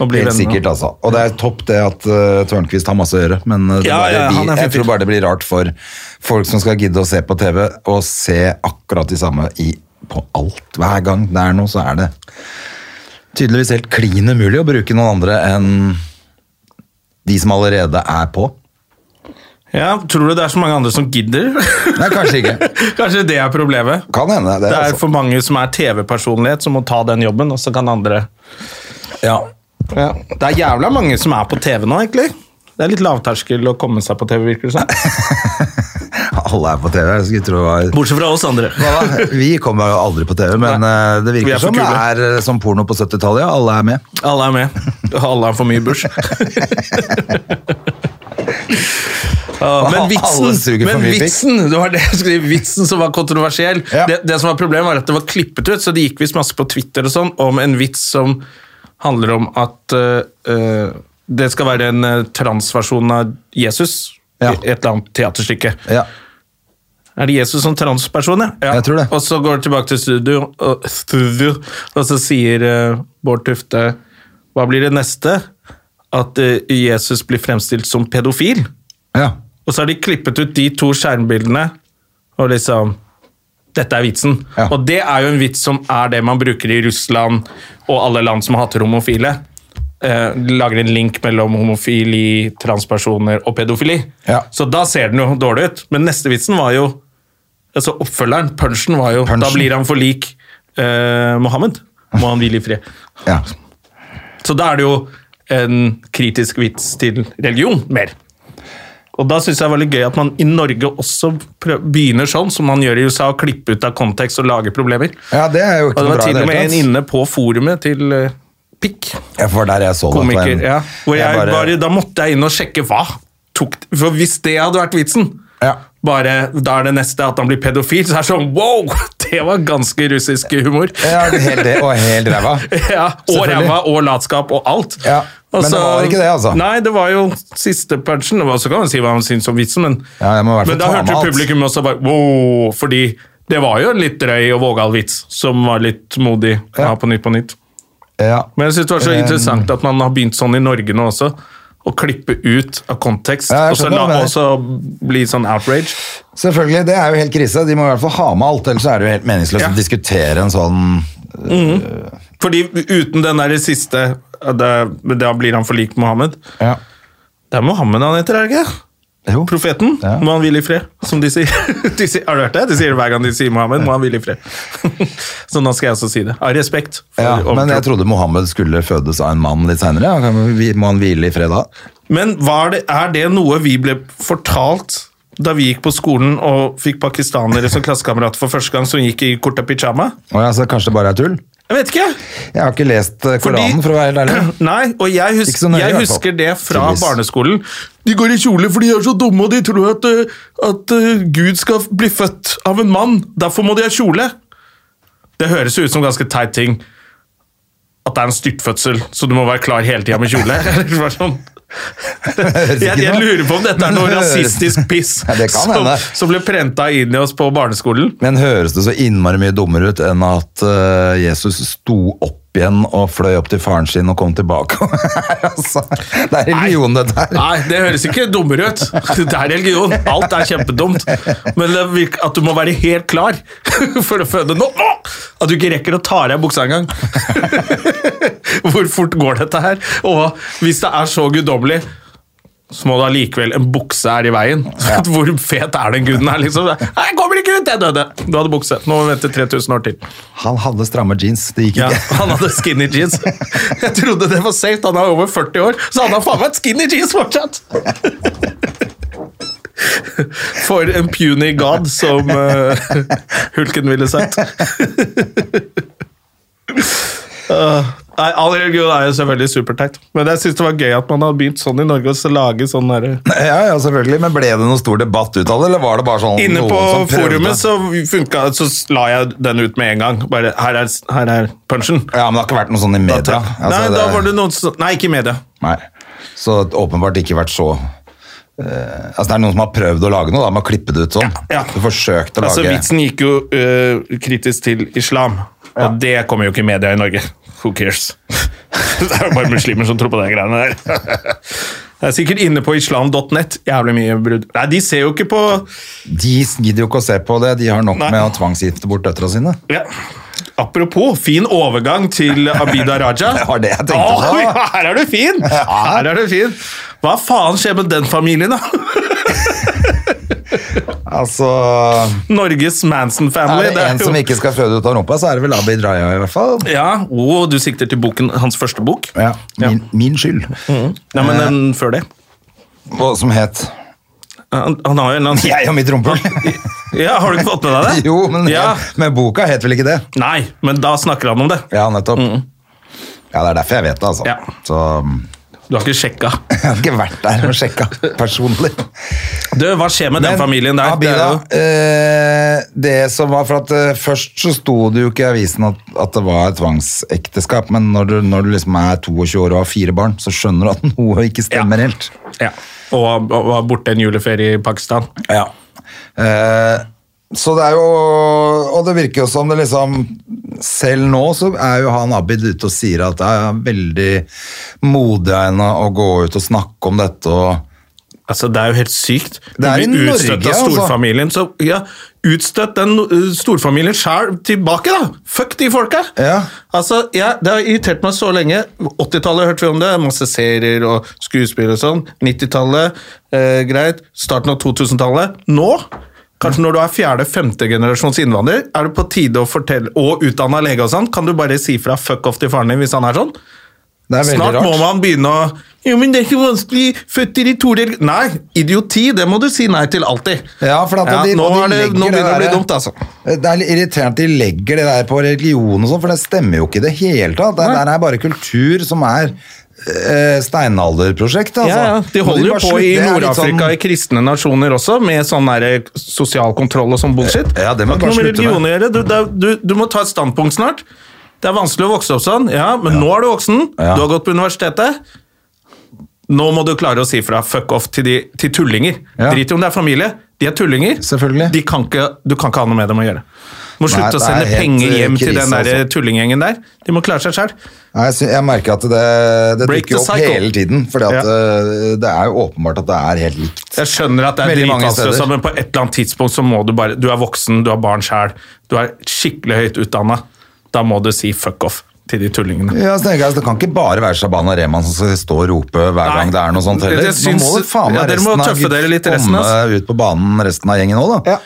Speaker 1: Og bli
Speaker 2: Helt
Speaker 1: venner.
Speaker 2: sikkert, altså. Og det er topp det at uh, Tørnquist har masse å gjøre, men eh, det
Speaker 1: Ja,
Speaker 2: bare,
Speaker 1: ja,
Speaker 2: blir-
Speaker 1: han er fin
Speaker 2: jeg tror
Speaker 1: fyr.
Speaker 2: bare det blir rart for folk som skal gidde å se på TV, å se akkurat de samme i, på alt. Hver gang det er noe, så er det tydeligvis helt klin umulig å bruke noen andre enn de som allerede er på.
Speaker 1: Ja, Tror du det er så mange andre som gidder?
Speaker 2: Nei, kanskje ikke.
Speaker 1: Kanskje det er problemet?
Speaker 2: Kan hende. Det,
Speaker 1: Det er
Speaker 2: altså.
Speaker 1: for mange som er TV-personlighet, som må ta den jobben, og så kan andre
Speaker 2: Ja.
Speaker 1: Ja. Det er jævla mange som er på TV nå, egentlig. Det er litt lavterskel å komme seg på TV, virker det som.
Speaker 2: Alle er på TV. Jeg skulle tro det var...
Speaker 1: Bortsett fra oss andre.
Speaker 2: Hva da? Vi kommer jo aldri på TV, men eh, det
Speaker 1: Vi er
Speaker 2: virker
Speaker 1: for
Speaker 2: som det
Speaker 1: kule.
Speaker 2: er eh, som porno på 70-tallet. Ja. Alle er med.
Speaker 1: Alle er med. Alle har for mye bursj. Ah, men
Speaker 2: Alle
Speaker 1: vitsen,
Speaker 2: suger for
Speaker 1: men
Speaker 2: mye pikk.
Speaker 1: vitsen det var det jeg skrev, vitsen som var kontroversiell.
Speaker 2: Ja.
Speaker 1: Det, det som var Problemet var at det var klippet ut, så det gikk visst masse på Twitter og sånn om en vits som handler om at eh, eh, det skal være en eh, transversjon av Jesus.
Speaker 2: Ja.
Speaker 1: I et eller annet teaterstykke.
Speaker 2: Ja.
Speaker 1: Er det Jesus som transperson, ja? ja?
Speaker 2: Jeg tror det.
Speaker 1: Og så går det tilbake til studio, og, studio, og så sier eh, Bård Tufte Hva blir det neste? At eh, Jesus blir fremstilt som pedofil?
Speaker 2: ja.
Speaker 1: Og så har de klippet ut de to skjermbildene, og liksom Dette er vitsen.
Speaker 2: Ja.
Speaker 1: Og det er jo en vits som er det man bruker i Russland og alle land som hater homofile. Eh, lager en link mellom homofili, transpersoner og pedofili.
Speaker 2: Ja.
Speaker 1: Så da ser den jo dårlig ut. Men neste vitsen var jo Altså oppfølgeren, punchen, var jo Da
Speaker 2: Punchen.
Speaker 1: blir han for lik eh, Mohammed. Må han hvile i fred.
Speaker 2: ja.
Speaker 1: Så da er det jo en kritisk vits til religion mer. Og da syns jeg det var litt gøy at man i Norge også prøv, begynner sånn, som man gjør i USA, å klippe ut av kontekst og lage problemer.
Speaker 2: Ja, det er jo
Speaker 1: og
Speaker 2: ikke
Speaker 1: det
Speaker 2: noe
Speaker 1: var
Speaker 2: bra i
Speaker 1: til
Speaker 2: det
Speaker 1: og med
Speaker 2: hele
Speaker 1: en
Speaker 2: tatt.
Speaker 1: inne på forumet til eh, Pikk,
Speaker 2: Ja, for der jeg så det på en-
Speaker 1: komiker. Ja, hvor jeg,
Speaker 2: bare-
Speaker 1: bare, da måtte jeg inn og sjekke hva. Tok, for hvis det hadde vært vitsen,
Speaker 2: Ja.
Speaker 1: bare da er det neste at han blir pedofil, så er det sånn wow! Det var ganske russisk humor.
Speaker 2: Ja, helt det, og helt ræva.
Speaker 1: Ja, og
Speaker 2: Selvfølgelig.
Speaker 1: ræva og latskap og alt.
Speaker 2: Ja, men
Speaker 1: Og
Speaker 2: det var ikke det, altså.
Speaker 1: Nei, det var jo siste punchen. Det var, så kan man si hva man syns om vitsen, men,
Speaker 2: Ja, jeg må i hvert fall
Speaker 1: men da
Speaker 2: ta med
Speaker 1: hørte jo
Speaker 2: alt.
Speaker 1: publikum også bare wow, fordi det var jo en litt drøy og vågal vits som var litt modig å
Speaker 2: Ja.
Speaker 1: ha på Nytt på Nytt.
Speaker 2: Ja.
Speaker 1: Men jeg synes det var så
Speaker 2: Eh,
Speaker 1: interessant at man har begynt sånn i Norge nå også. Å klippe ut av kontekst,
Speaker 2: Ja, jeg
Speaker 1: og så
Speaker 2: skjønner
Speaker 1: la
Speaker 2: hva du
Speaker 1: også bli sånn outrage.
Speaker 2: Selvfølgelig, det er jo helt krise. De må i hvert fall ha med alt, ellers er det jo helt meningsløst
Speaker 1: Ja.
Speaker 2: å diskutere en sånn
Speaker 1: Fordi uten den der siste, det, da blir han for lik Mohammed.
Speaker 2: ja.
Speaker 1: Det er Mohammed han heter, er det ikke? det?
Speaker 2: Jo.
Speaker 1: Profeten.
Speaker 2: Ja.
Speaker 1: Må han hvile i fred, som de sier. De sier har du hørt det? De sier det hver gang de sier Mohammed. Må han hvile i fred. Så nå skal jeg også si det. Av respekt. for
Speaker 2: Ja, men
Speaker 1: overtro.
Speaker 2: jeg trodde Mohammed skulle fødes av en mann litt seinere. Må han hvile i fred da?
Speaker 1: Men var det, er det noe vi ble fortalt da vi gikk på skolen og fikk pakistanere som klassekamerater for første gang, som gikk i kurta pyjama?
Speaker 2: Og jeg sa kanskje det bare er tull?
Speaker 1: Jeg vet ikke!
Speaker 2: Jeg har ikke lest eh, Koranen, for å være helt ærlig.
Speaker 1: Nei, og jeg, hus
Speaker 2: Ikke så nøye, i
Speaker 1: jeg
Speaker 2: hvert fall.
Speaker 1: husker det fra
Speaker 2: Tydeligvis.
Speaker 1: barneskolen. De går i kjole fordi de er så dumme, og de tror at, eh, at eh, Gud skal bli født av en mann. Derfor må de ha kjole. Det høres jo ut som ganske teit ting. At det er en styrtfødsel, så du må være klar hele tida med kjole. Eller bare sånn.
Speaker 2: høres
Speaker 1: Jeg,
Speaker 2: ikke
Speaker 1: jeg
Speaker 2: noe.
Speaker 1: lurer på om dette er noe
Speaker 2: Men det høres-
Speaker 1: rasistisk piss
Speaker 2: Ja, det kan
Speaker 1: som,
Speaker 2: hende.
Speaker 1: som ble prenta inn i oss på barneskolen.
Speaker 2: Men høres det så innmari mye dummere ut enn at eh, Jesus sto opp igjen og fløy opp til faren sin og kom tilbake? altså, det er religion, dette her.
Speaker 1: Nei, det høres ikke dummere ut. Det er religion. Alt er kjempedumt. Men det virker at du må være helt klar for å føde nå. Å! At du ikke rekker å ta av deg buksa engang. Hvor fort går dette her? Og hvis det er så guddommelig, så må du allikevel En bukse er i veien. Hvor fet er den guden her, liksom? Nei, jeg kommer ikke ut! Jeg døde! Du hadde bukse. Nå må vi vente 3000 år til.
Speaker 2: Han hadde stramme jeans, det gikk
Speaker 1: Ja,
Speaker 2: ikke.
Speaker 1: han hadde skinny jeans. Jeg trodde det var safe, han er over 40 år, så han har faen meg skinny jeans fortsatt! For en puny god, som eh, hulken ville sagt. Eh, nei, all religion er jo selvfølgelig superteit, men jeg syns det var gøy at man har begynt sånn i Norge, å så lage sånn derre
Speaker 2: Ja, ja, selvfølgelig. Men ble det noen stor debatt ut av det, eller var det bare sånn
Speaker 1: Inne
Speaker 2: noen
Speaker 1: på
Speaker 2: som prøvde?
Speaker 1: forumet så, funka, så la jeg den ut med en gang. Bare her er, her er punchen.
Speaker 2: Ja, men det har ikke vært noe sånn i media. Altså,
Speaker 1: nei,
Speaker 2: det-
Speaker 1: da var det noen som Nei, ikke i media.
Speaker 2: Nei. Så åpenbart ikke vært så eh, altså Det er noen som har prøvd å lage noe da, med å klippe det ut sånn.
Speaker 1: Ja, ja.
Speaker 2: Du forsøkte å
Speaker 1: Altså,
Speaker 2: lage
Speaker 1: vitsen gikk jo ø, kritisk til islam, og det kommer jo ikke i media i Norge. Who cares? det er jo bare muslimer som tror på de greiene der. Det er sikkert inne på islam.net. Jævlig mye brudd. Nei, de ser jo ikke på
Speaker 2: De gidder jo ikke å se på det, de har nok
Speaker 1: Nei.
Speaker 2: med å tvangsgifte bort døtra sine.
Speaker 1: ja. Apropos, fin overgang til Abida Raja.
Speaker 2: Det var det jeg tenkte på.
Speaker 1: Oi, her er du fin! Her er du fin! Hva faen skjer med den familien, da?
Speaker 2: Altså,
Speaker 1: Norges
Speaker 2: Er
Speaker 1: Manson-family.
Speaker 2: det en som ikke skal føde ut av rumpa, så er det vel Abid Raja i hvert fall.
Speaker 1: Ja, Å, du sikter til boken, hans første bok?
Speaker 2: Ja, min, min skyld.
Speaker 1: Nei, men den før det.
Speaker 2: Og som het
Speaker 1: Han, han har jo en eller annen
Speaker 2: Jeg og mitt rumpehull.
Speaker 1: Ja, har du ikke fått med deg det?
Speaker 2: jo, men,
Speaker 1: ja.
Speaker 2: men boka het vel ikke det?
Speaker 1: Nei, men da snakker han om det.
Speaker 2: Ja, nettopp. Ja, det er derfor jeg vet det, altså.
Speaker 1: Mm. Ja.
Speaker 2: Så
Speaker 1: Du har ikke sjekka.
Speaker 2: jeg har ikke vært der og sjekka personlig.
Speaker 1: Du, hva skjer med den
Speaker 2: Men,
Speaker 1: familien der? Det
Speaker 2: Abida,
Speaker 1: er jo-
Speaker 2: eh, det som var for at eh, Først så sto det jo ikke i avisen at, at det var et tvangsekteskap, men når du, når du liksom er 22 år og har fire barn, så skjønner du at noe ikke stemmer helt.
Speaker 1: ja. Og og var borte en juleferie i Pakistan.
Speaker 2: Ja. Eh, så det er jo Og det virker jo som det liksom Selv nå så er jo han Abid ute og sier at det er veldig modig av henne å gå ut og snakke om dette og
Speaker 1: Altså, Det er jo helt sykt. Du
Speaker 2: Det er i
Speaker 1: blir utstøtt av
Speaker 2: Norge, altså.
Speaker 1: storfamilien. Så ja, Utstøtt den uh, storfamilien sjæl tilbake, da! Fuck de folka!
Speaker 2: Ja.
Speaker 1: Altså, ja, Det har irritert meg så lenge. 80-tallet hørte vi om det. Masse serier og skuespill og sånn. 90-tallet, eh, greit. Starten av 2000-tallet. Nå Kanskje når du er fjerde-femte generasjons innvandrer, er det på tide å fortelle, og utdanna lege og sånn, kan du bare si fra fuck off til faren din hvis han er sånn?
Speaker 2: Det er veldig
Speaker 1: Snart
Speaker 2: rart.
Speaker 1: må man begynne å Jo, men det er ikke vanskelig. Føtter i to del Nei, idioti, det må du si nei til alltid.
Speaker 2: Ja, for at
Speaker 1: Ja,
Speaker 2: de,
Speaker 1: nå,
Speaker 2: og de
Speaker 1: er det,
Speaker 2: legger
Speaker 1: nå begynner det å bli
Speaker 2: der- Eh,
Speaker 1: dumt, altså.
Speaker 2: Det er litt irriterende at de legger det der på religion og sånn, for det stemmer jo ikke i det hele tatt. Det der er bare kultur som er eh, steinalderprosjekt, altså.
Speaker 1: Ja, ja. De holder jo
Speaker 2: bare
Speaker 1: på i
Speaker 2: slutter. Det er litt
Speaker 1: Nord-Afrika, i
Speaker 2: sånn-
Speaker 1: kristne nasjoner også, med sånn der sosial kontroll og sånn bullshit.
Speaker 2: Ja, det må
Speaker 1: har ikke
Speaker 2: bare
Speaker 1: noe med
Speaker 2: slutte med.
Speaker 1: religion å gjøre. Du, det er- du, du må ta et standpunkt snart. Det er vanskelig å vokse opp sånn. Ja, men nå er du voksen.
Speaker 2: Ja.
Speaker 1: Du har gått på universitetet. Nå må du klare å si fra fuck off til, de, til tullinger.
Speaker 2: Ja.
Speaker 1: Drit i om det er familie. De er tullinger.
Speaker 2: Selvfølgelig.
Speaker 1: De kan ikke, du kan ikke ha noe med dem å gjøre. Du må
Speaker 2: Nei,
Speaker 1: slutte
Speaker 2: det
Speaker 1: å
Speaker 2: er
Speaker 1: sende
Speaker 2: helt,
Speaker 1: penger
Speaker 2: eh,
Speaker 1: hjem til
Speaker 2: krise,
Speaker 1: den der
Speaker 2: altså.
Speaker 1: tullinggjengen der. De må klare seg sjøl.
Speaker 2: Nei, jeg, sy- jeg merker at det, det
Speaker 1: Break
Speaker 2: dukker
Speaker 1: the
Speaker 2: opp
Speaker 1: cycle.
Speaker 2: hele tiden, for
Speaker 1: Ja.
Speaker 2: det er jo åpenbart at det er helt likt.
Speaker 1: Jeg skjønner at det er
Speaker 2: Veldig mange
Speaker 1: dritvanskelig,
Speaker 2: steder.
Speaker 1: men på et eller annet tidspunkt så må du bare Du er voksen, du har barn sjæl, du er skikkelig høyt utdanna. Da må du si fuck off. til de tullingene.
Speaker 2: Ja, så tenker jeg, altså, Det kan ikke bare være Shabana Rehman som skal stå og rope hver gang
Speaker 1: Nei.
Speaker 2: det er noe sånt heller.
Speaker 1: Jeg syns-
Speaker 2: Nå må faen
Speaker 1: ja,
Speaker 2: meg
Speaker 1: dere må
Speaker 2: resten av
Speaker 1: tøffe dere litt,
Speaker 2: gutt
Speaker 1: resten,
Speaker 2: komme
Speaker 1: ass.
Speaker 2: ut på banen, resten av gjengen òg, da.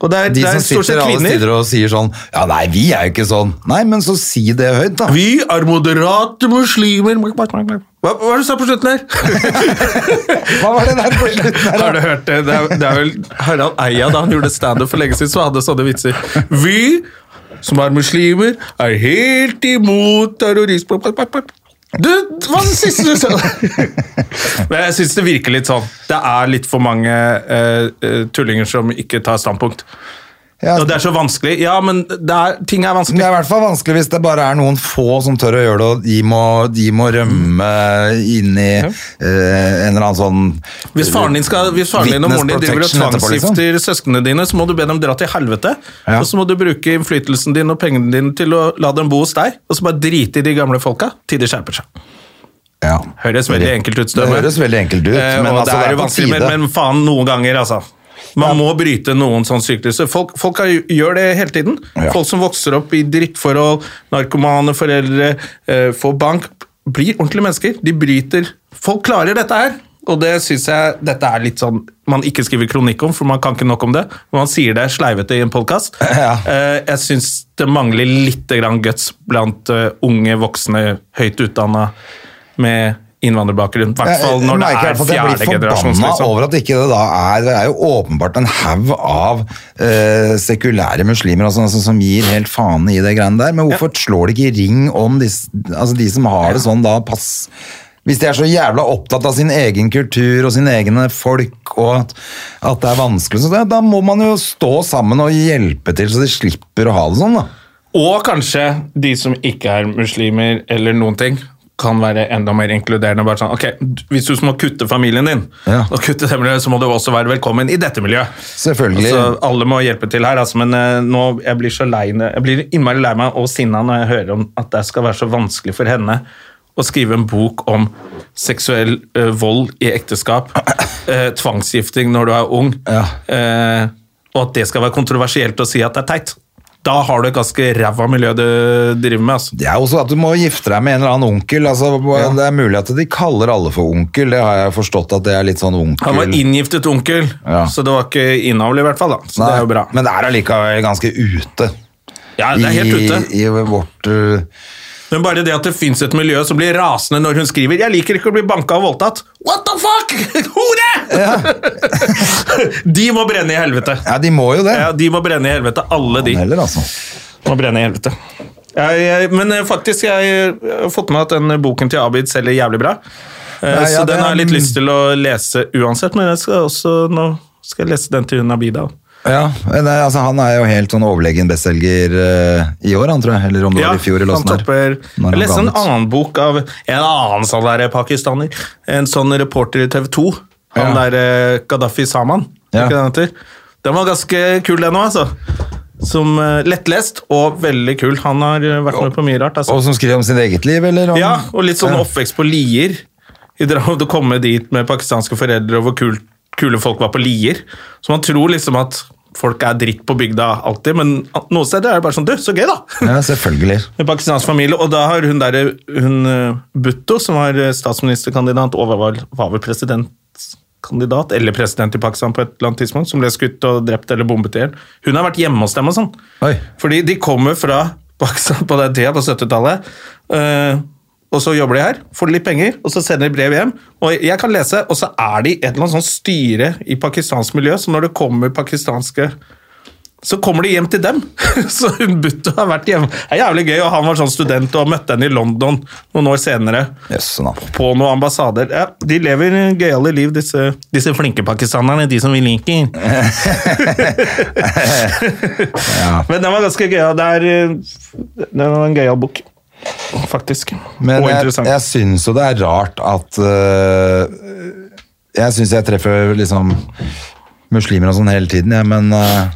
Speaker 1: Og det er,
Speaker 2: De
Speaker 1: det er
Speaker 2: som
Speaker 1: stort
Speaker 2: sitter
Speaker 1: sett
Speaker 2: alle
Speaker 1: kvinner.
Speaker 2: steder og sier sånn Ja, nei, vi er jo ikke sånn. Nei, men så si det høyt, da.
Speaker 1: Vi er moderate muslimer Hva, hva var det du sa på slutten der?
Speaker 2: Hva var det der på slutten her, da?
Speaker 1: Har du hørt det? Det er, det er vel Harald Eia, da han gjorde standup for lenge siden, så hadde sånne vitser. Vi som er muslimer, er helt imot terrorisme. Du, hva var det siste du sa? Men jeg syns det virker litt sånn. Det er litt for mange eh, eh, tullinger som ikke tar standpunkt.
Speaker 2: Ja,
Speaker 1: Og det er så vanskelig. Ja, men det er, ting er
Speaker 2: Det
Speaker 1: vanskelig.
Speaker 2: er i hvert fall vanskelig hvis det bare er noen få som tør å gjøre det, og de må, de må rømme inn i eh, en eller annen sånn
Speaker 1: Hvis faren din, skal, hvis faren din og moren din
Speaker 2: Witness
Speaker 1: driver og
Speaker 2: protection etterpå, liksom.
Speaker 1: tvangsgifter søsknene dine, så må du be dem dra til helvete.
Speaker 2: Ja.
Speaker 1: Og så må du bruke innflytelsen din og pengene dine til å la dem bo hos deg, og så bare drite i de gamle folka til de skjerper seg.
Speaker 2: Ja.
Speaker 1: Høres veldig enkelt ut, Støme.
Speaker 2: Det høres veldig enkelt ut,
Speaker 1: Eh,
Speaker 2: men
Speaker 1: og
Speaker 2: altså,
Speaker 1: det er jo
Speaker 2: på
Speaker 1: vanskelig, men,
Speaker 2: tide.
Speaker 1: men faen, noen ganger, altså. Man må bryte noen sånne sykluser. Folk, folk har, gjør det hele tiden.
Speaker 2: Ja.
Speaker 1: Folk som vokser opp i drittforhold, narkomane, foreldre, eh, får bank, blir ordentlige mennesker. De bryter Folk klarer dette her, og det syns jeg dette er litt sånn man ikke skriver kronikk om, for man kan ikke nok om det. Men man sier det sleivete i en podkast.
Speaker 2: Ja.
Speaker 1: Eh, jeg syns det mangler litt grann guts blant eh, unge, voksne, høyt utdanna med innvandrerbakgrunn. I hvert fall når det
Speaker 2: merker i
Speaker 1: er
Speaker 2: hvert fall at jeg
Speaker 1: fjerde
Speaker 2: blir
Speaker 1: generasjons.
Speaker 2: forbanna
Speaker 1: Liksom.
Speaker 2: over at ikke det da er Det er jo åpenbart en haug av eh, sekulære muslimer og sånne som- som gir helt faen i det greiene der, men hvorfor slår de ikke ring om disse, altså de som har det sånn da, pass hvis de er så jævla opptatt av sin egen kultur og sine egne folk, og at, at det er vanskelig, så det, da må man jo stå sammen og hjelpe til, så de slipper å ha det sånn, da.
Speaker 1: Og kanskje de som ikke er muslimer eller noen ting, kan være enda mer inkluderende. Bare sånn, ok, d- Hvis du må kutte familien din,
Speaker 2: Ja.
Speaker 1: og kutte det miljøet, så må du også være velkommen i dette miljøet.
Speaker 2: Selvfølgelig.
Speaker 1: Altså, alle må hjelpe til her, altså, men eh, nå, jeg blir så lei Jeg blir innmari lei meg og sinna når jeg hører om at det skal være så vanskelig for henne å skrive en bok om seksuell eh, vold i ekteskap, eh, tvangsgifting når du er ung,
Speaker 2: Ja.
Speaker 1: eh, og at det skal være kontroversielt å si at det er teit. Da har du et ganske ræva miljø du driver med. altså.
Speaker 2: Det er jo også at du må gifte deg med en eller annen onkel. Altså, Det er mulig at de kaller alle for onkel, det har jeg forstått at det er litt sånn onkel.
Speaker 1: Han var inngiftet onkel,
Speaker 2: Ja.
Speaker 1: så det var ikke innavl i hvert fall. da. Så
Speaker 2: Nei,
Speaker 1: det er jo bra.
Speaker 2: Men det er allikevel ganske ute.
Speaker 1: ja, det er helt ute.
Speaker 2: I, i vårt... uh,
Speaker 1: Men bare det at det fins et miljø som blir rasende når hun skriver 'Jeg liker ikke å bli banka og voldtatt'. What the fuck?! Hore! de må brenne i helvete.
Speaker 2: Ja, de må jo det.
Speaker 1: Ja, de må brenne i helvete. Alle de
Speaker 2: Heller, altså.
Speaker 1: må brenne i helvete. Jeg, jeg, men eh, faktisk, jeg har fått med at den eh, boken til Abid selger jævlig bra. Eh,
Speaker 2: Ja, ja,
Speaker 1: så den
Speaker 2: det-
Speaker 1: har jeg litt lyst til å lese uansett, men jeg skal også nå skal jeg lese den til hun Abida.
Speaker 2: Ja, men det, altså, han er jo helt sånn overlegen bestselger uh, i år, han tror jeg. Eller om det
Speaker 1: Ja,
Speaker 2: var i fjor, eller
Speaker 1: han
Speaker 2: åssen det er.
Speaker 1: topper Jeg
Speaker 2: Når han
Speaker 1: leste
Speaker 2: ga
Speaker 1: en
Speaker 2: den ut.
Speaker 1: annen bok av en annen sånn der pakistaner. En sånn reporter i TV 2. Han
Speaker 2: Ja.
Speaker 1: der eh, Gaddafi Saman. er
Speaker 2: Ja.
Speaker 1: Ikke det han heter? Den var ganske kul, den òg, altså. Som eh, lettlest og veldig kul. Han har eh, vært med på mye rart. altså.
Speaker 2: Og som skriver om sitt eget liv, eller? Om,
Speaker 1: Ja, og litt sånn
Speaker 2: Ja.
Speaker 1: oppvekst på Lier. I dra- Å komme dit med pakistanske foreldre og hvor kult, kule folk var på Lier. Så man tror liksom at folk er dritt på bygda alltid, men noen steder er det bare sånn Du, så gøy, da!
Speaker 2: Ja, selvfølgelig.
Speaker 1: En pakistansk familie, og da har hun der, hun eh, Bhutto, som var eh, statsministerkandidat, og var, var vel presidentkandidat, eller president i Pakistan på et eller annet tidspunkt, som ble skutt og drept eller bombet i hjel. Hun har vært hjemme hos dem og sånn.
Speaker 2: Oi.
Speaker 1: Fordi de kommer fra Pakistan på den tida, på 70-tallet, eh, og så jobber de her, får litt penger, og så sender de brev hjem. Og jeg kan lese, og så er de et eller annet sånn styre i pakistansk miljø, så når det kommer pakistanske så kommer de hjem til dem. Så hun Butto har vært hjemme. Det er jævlig gøy, og han var sånn student og møtte henne i London noen år senere.
Speaker 2: Jøsse navn.
Speaker 1: På noen ambassader. Ja, de lever gøyale liv, disse, disse flinke pakistanerne. De som vi liker. Men den var ganske gøyal. Det er eh, det var en gøyal bok, faktisk.
Speaker 2: Men
Speaker 1: og
Speaker 2: jeg,
Speaker 1: interessant.
Speaker 2: jeg syns jo det er rart at øh, Jeg syns jeg treffer liksom muslimer og sånn hele tiden, jeg, men øh,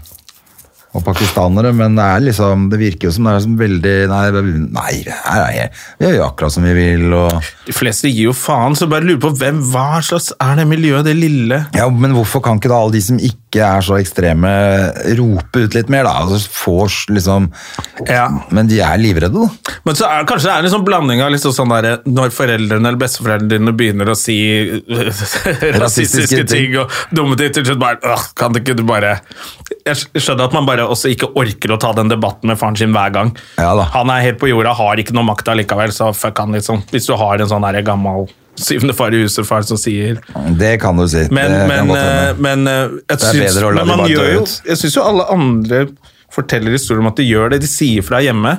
Speaker 2: og pakistanere, men det er liksom det virker jo som det er som veldig Nei, nei, nei vi gjør jo akkurat som vi vil, og
Speaker 1: De fleste gir jo faen, så bare lurer på hvem hva slags er det miljøet, det lille
Speaker 2: ja, Men hvorfor kan ikke da alle de som ikke ikke er så ekstreme, rope ut litt mer, da. Altså, får liksom
Speaker 1: Ja.
Speaker 2: Men de er livredde, da.
Speaker 1: Men så er, kanskje det er en sånn blanding av liksom sånn der, når foreldrene eller besteforeldrene dine begynner å si rasistiske,
Speaker 2: Rasistiske ting.
Speaker 1: ting og dumme ting, til slutt bare «Åh, Kan det ikke du bare Jeg skj- skjønner at man bare også ikke orker å ta den debatten med faren sin hver gang.
Speaker 2: Ja da.
Speaker 1: Han er helt på jorda, har ikke noe makt allikevel, så fuck han, liksom. Hvis du har en sånn der gammel syvende far i huset-far som sier
Speaker 2: Det kan du si.
Speaker 1: men,
Speaker 2: det kan
Speaker 1: men,
Speaker 2: godt hende.
Speaker 1: eh, men eh, jeg
Speaker 2: Det er
Speaker 1: syns,
Speaker 2: bedre å la
Speaker 1: men
Speaker 2: de
Speaker 1: man
Speaker 2: bare
Speaker 1: gjør
Speaker 2: dø
Speaker 1: jo,
Speaker 2: ut.
Speaker 1: jeg syns jo alle andre forteller historier om at de gjør det. De sier fra hjemme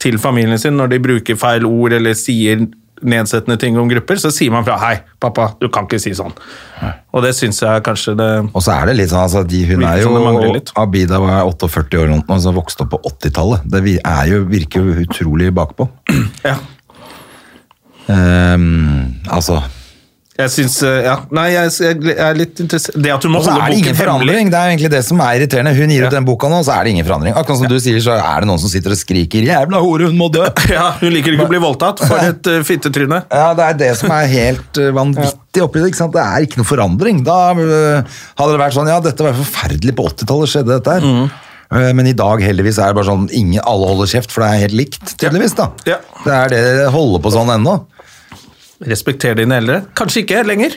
Speaker 1: til familien sin når de bruker feil ord eller sier nedsettende ting om grupper, så sier man fra 'hei, pappa, du kan ikke si sånn'. Og det syns jeg kanskje det
Speaker 2: Og så er det litt sånn, altså, de, hun
Speaker 1: Virker
Speaker 2: er
Speaker 1: som det mangler
Speaker 2: jo
Speaker 1: litt.
Speaker 2: Abida var 48 år og så vokste opp på 80-tallet. Det vi- er jo, virker jo utrolig bakpå.
Speaker 1: Ja.
Speaker 2: Ehm, altså
Speaker 1: Jeg syns eh, Ja. Nei, jeg, jeg er litt interessert Det at du må
Speaker 2: Og så
Speaker 1: holde
Speaker 2: er det ingen
Speaker 1: boken hemmelig
Speaker 2: forandring! Det er jo egentlig det som er irriterende. Hun gir ut den boka nå, så er det ingen forandring. Akkurat som du sier, så er det noen som sitter og skriker 'jævla hore, hun må dø'!
Speaker 1: Ja, hun liker ikke å bli voldtatt. For et eh, fittetryne.
Speaker 2: Ja, Det er det som er helt eh, vanvittig oppi det. ikke sant? Det er ikke noe forandring. Da eh, hadde det vært sånn Ja, dette var forferdelig på 80-tallet, skjedde dette her.
Speaker 1: Mm.
Speaker 2: Eh, Men i dag heldigvis er det bare sånn ingen, alle holder kjeft, for det er helt likt, tydeligvis. da.
Speaker 1: Ja.
Speaker 2: Det er det det holder på sånn ennå.
Speaker 1: Respekter dine eldre. Kanskje ikke lenger.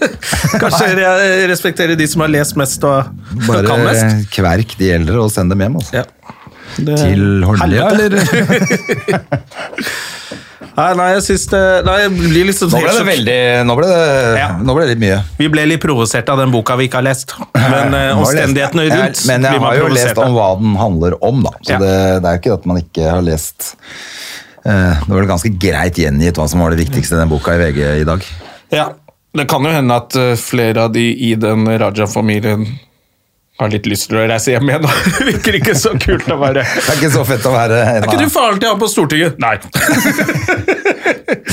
Speaker 1: Kanskje re- respektere de som har lest mest og og kan
Speaker 2: Bare
Speaker 1: mest.
Speaker 2: kverk de eldre og send dem hjem. altså.
Speaker 1: Ja. Det-
Speaker 2: Til Holmlia,
Speaker 1: Helvete.
Speaker 2: eller?
Speaker 1: Nei, nei, jeg syns det Nei, jeg blir liksom
Speaker 2: Nå ble det
Speaker 1: helt sjokk.
Speaker 2: veldig Nå ble det,
Speaker 1: Ja.
Speaker 2: nå ble det litt mye.
Speaker 1: Vi ble litt provosert av den boka vi ikke har lest. Men eh,
Speaker 2: Nå har jeg lest-
Speaker 1: omstendighetene rundt
Speaker 2: Jeg- Men jeg
Speaker 1: blir man
Speaker 2: har jo
Speaker 1: provosert
Speaker 2: lest om
Speaker 1: av.
Speaker 2: hva den handler om, da. Så
Speaker 1: Ja.
Speaker 2: det, det er jo ikke at man ikke har lest eh, Det var vel ganske greit gjengitt hva som var det viktigste i den boka i VG i dag.
Speaker 1: Ja. Det kan jo hende at eh, flere av de i den Raja-familien har litt lyst til å reise hjem igjen. da. Det virker ikke så kult å være
Speaker 2: Det er ikke så fett å være en
Speaker 1: Er ikke du
Speaker 2: av-
Speaker 1: faren til han på Stortinget? Nei.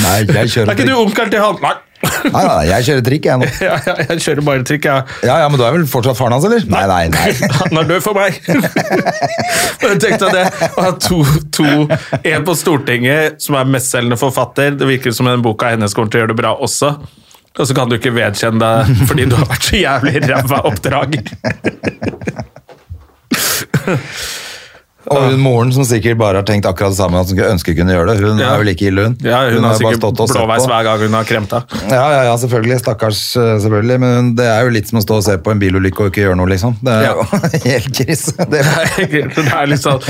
Speaker 2: Nei, jeg
Speaker 1: Er
Speaker 2: kjører
Speaker 1: ikke du
Speaker 2: trikk.
Speaker 1: onkelen til han? Nei.
Speaker 2: Nei, nei, nei, jeg kjører trikk, jeg nå.
Speaker 1: Ja, ja, jeg kjører bare trikk, jeg.
Speaker 2: Ja, ja, men du er vel fortsatt faren hans, eller? Nei, nei, nei.
Speaker 1: Han er død for meg. Men jeg tenkte at det å ha to, to En på Stortinget som er mestselgende forfatter. Det virker som den boka hennes kommer til å gjøre det bra også. Og så kan du ikke vedkjenne deg fordi du har vært så jævlig ræva oppdrager.
Speaker 2: Og hun moren som sikkert bare har tenkt akkurat det samme, at hun skulle ønske hun kunne gjøre det. Hun
Speaker 1: Ja.
Speaker 2: er jo like ille, hun.
Speaker 1: Ja, hun, har
Speaker 2: bare
Speaker 1: sikkert
Speaker 2: stått og sett
Speaker 1: blåveis
Speaker 2: på.
Speaker 1: hver gang hun har kremta.
Speaker 2: Ja, ja, ja, selvfølgelig. Stakkars, eh, selvfølgelig. Men det er jo litt som å stå og se på en bilulykke og ikke gjøre noe, liksom. Det er
Speaker 1: Ja.
Speaker 2: jo helt krise. Det er
Speaker 1: Det er litt sånn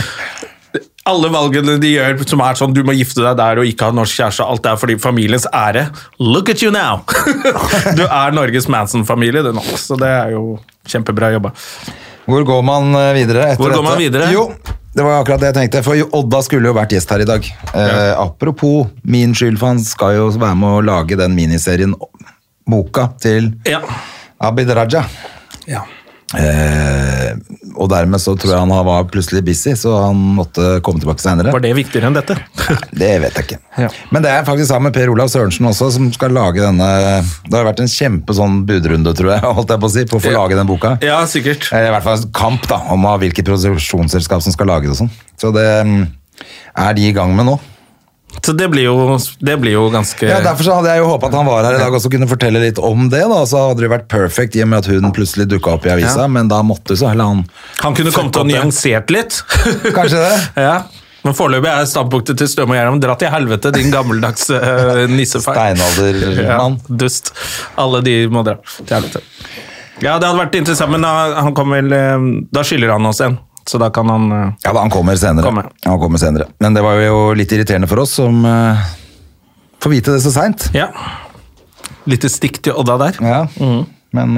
Speaker 1: alle valgene de gjør som er sånn du må gifte deg der og ikke ha norsk kjæreste, alt det er fordi familiens ære. Look at you now! Du er Norges Manson-familie, du nå. Så det er jo kjempebra jobba.
Speaker 2: Hvor går man eh, videre etter
Speaker 1: Hvor går
Speaker 2: dette?
Speaker 1: man videre?
Speaker 2: Jo, det var akkurat det jeg tenkte, for Odda skulle jo vært gjest her i dag. Eh, apropos min skyld, for han skal jo være med å lage den miniserien Boka til
Speaker 1: Ja.
Speaker 2: Abid Raja.
Speaker 1: ja.
Speaker 2: Eh, og dermed så tror jeg han var plutselig busy, så han måtte komme tilbake senere.
Speaker 1: Var det viktigere enn dette?
Speaker 2: Det vet jeg ikke.
Speaker 1: Ja.
Speaker 2: Men det er faktisk sammen med Per Olav Sørensen også, som skal lage denne Det har vært en kjempe sånn budrunde, tror jeg, holdt jeg på å si, på å få
Speaker 1: Ja.
Speaker 2: lage den boka.
Speaker 1: Ja, sikkert.
Speaker 2: Eller i hvert fall en kamp da, om hva- hvilket produksjonsselskap som skal lage det og sånn. Så det mm, er de i gang med nå.
Speaker 1: Så det blir jo, det blir jo ganske
Speaker 2: Ja, Derfor så hadde jeg jo håpet at han var her i dag også kunne fortelle litt om det. da, Så hadde det vært perfect i og med at hun plutselig dukket opp i avisa,
Speaker 1: Ja.
Speaker 2: men da måtte så heller han
Speaker 1: Han kunne kommet og
Speaker 2: Fuck opp
Speaker 1: nyansert litt.
Speaker 2: Kanskje det.
Speaker 1: Ja. Men foreløpig er standpunktet til Støme og Gjernom dra til helvete, din gammeldags uh, nissefar.
Speaker 2: Steinaldermann.
Speaker 1: Ja, dust. Alle de må dra til helvete. Ja, det hadde vært interessant, men da, han kommer vel, eh, da skylder han oss en, så da kan han eh,
Speaker 2: Ja, da, han kommer senere.
Speaker 1: Kommer.
Speaker 2: Han kommer senere. Men det var jo litt irriterende for oss som eh, får vite det så seint.
Speaker 1: Ja. Lite stikk til Odda der. Å
Speaker 2: Ja.
Speaker 1: Mhm.
Speaker 2: Men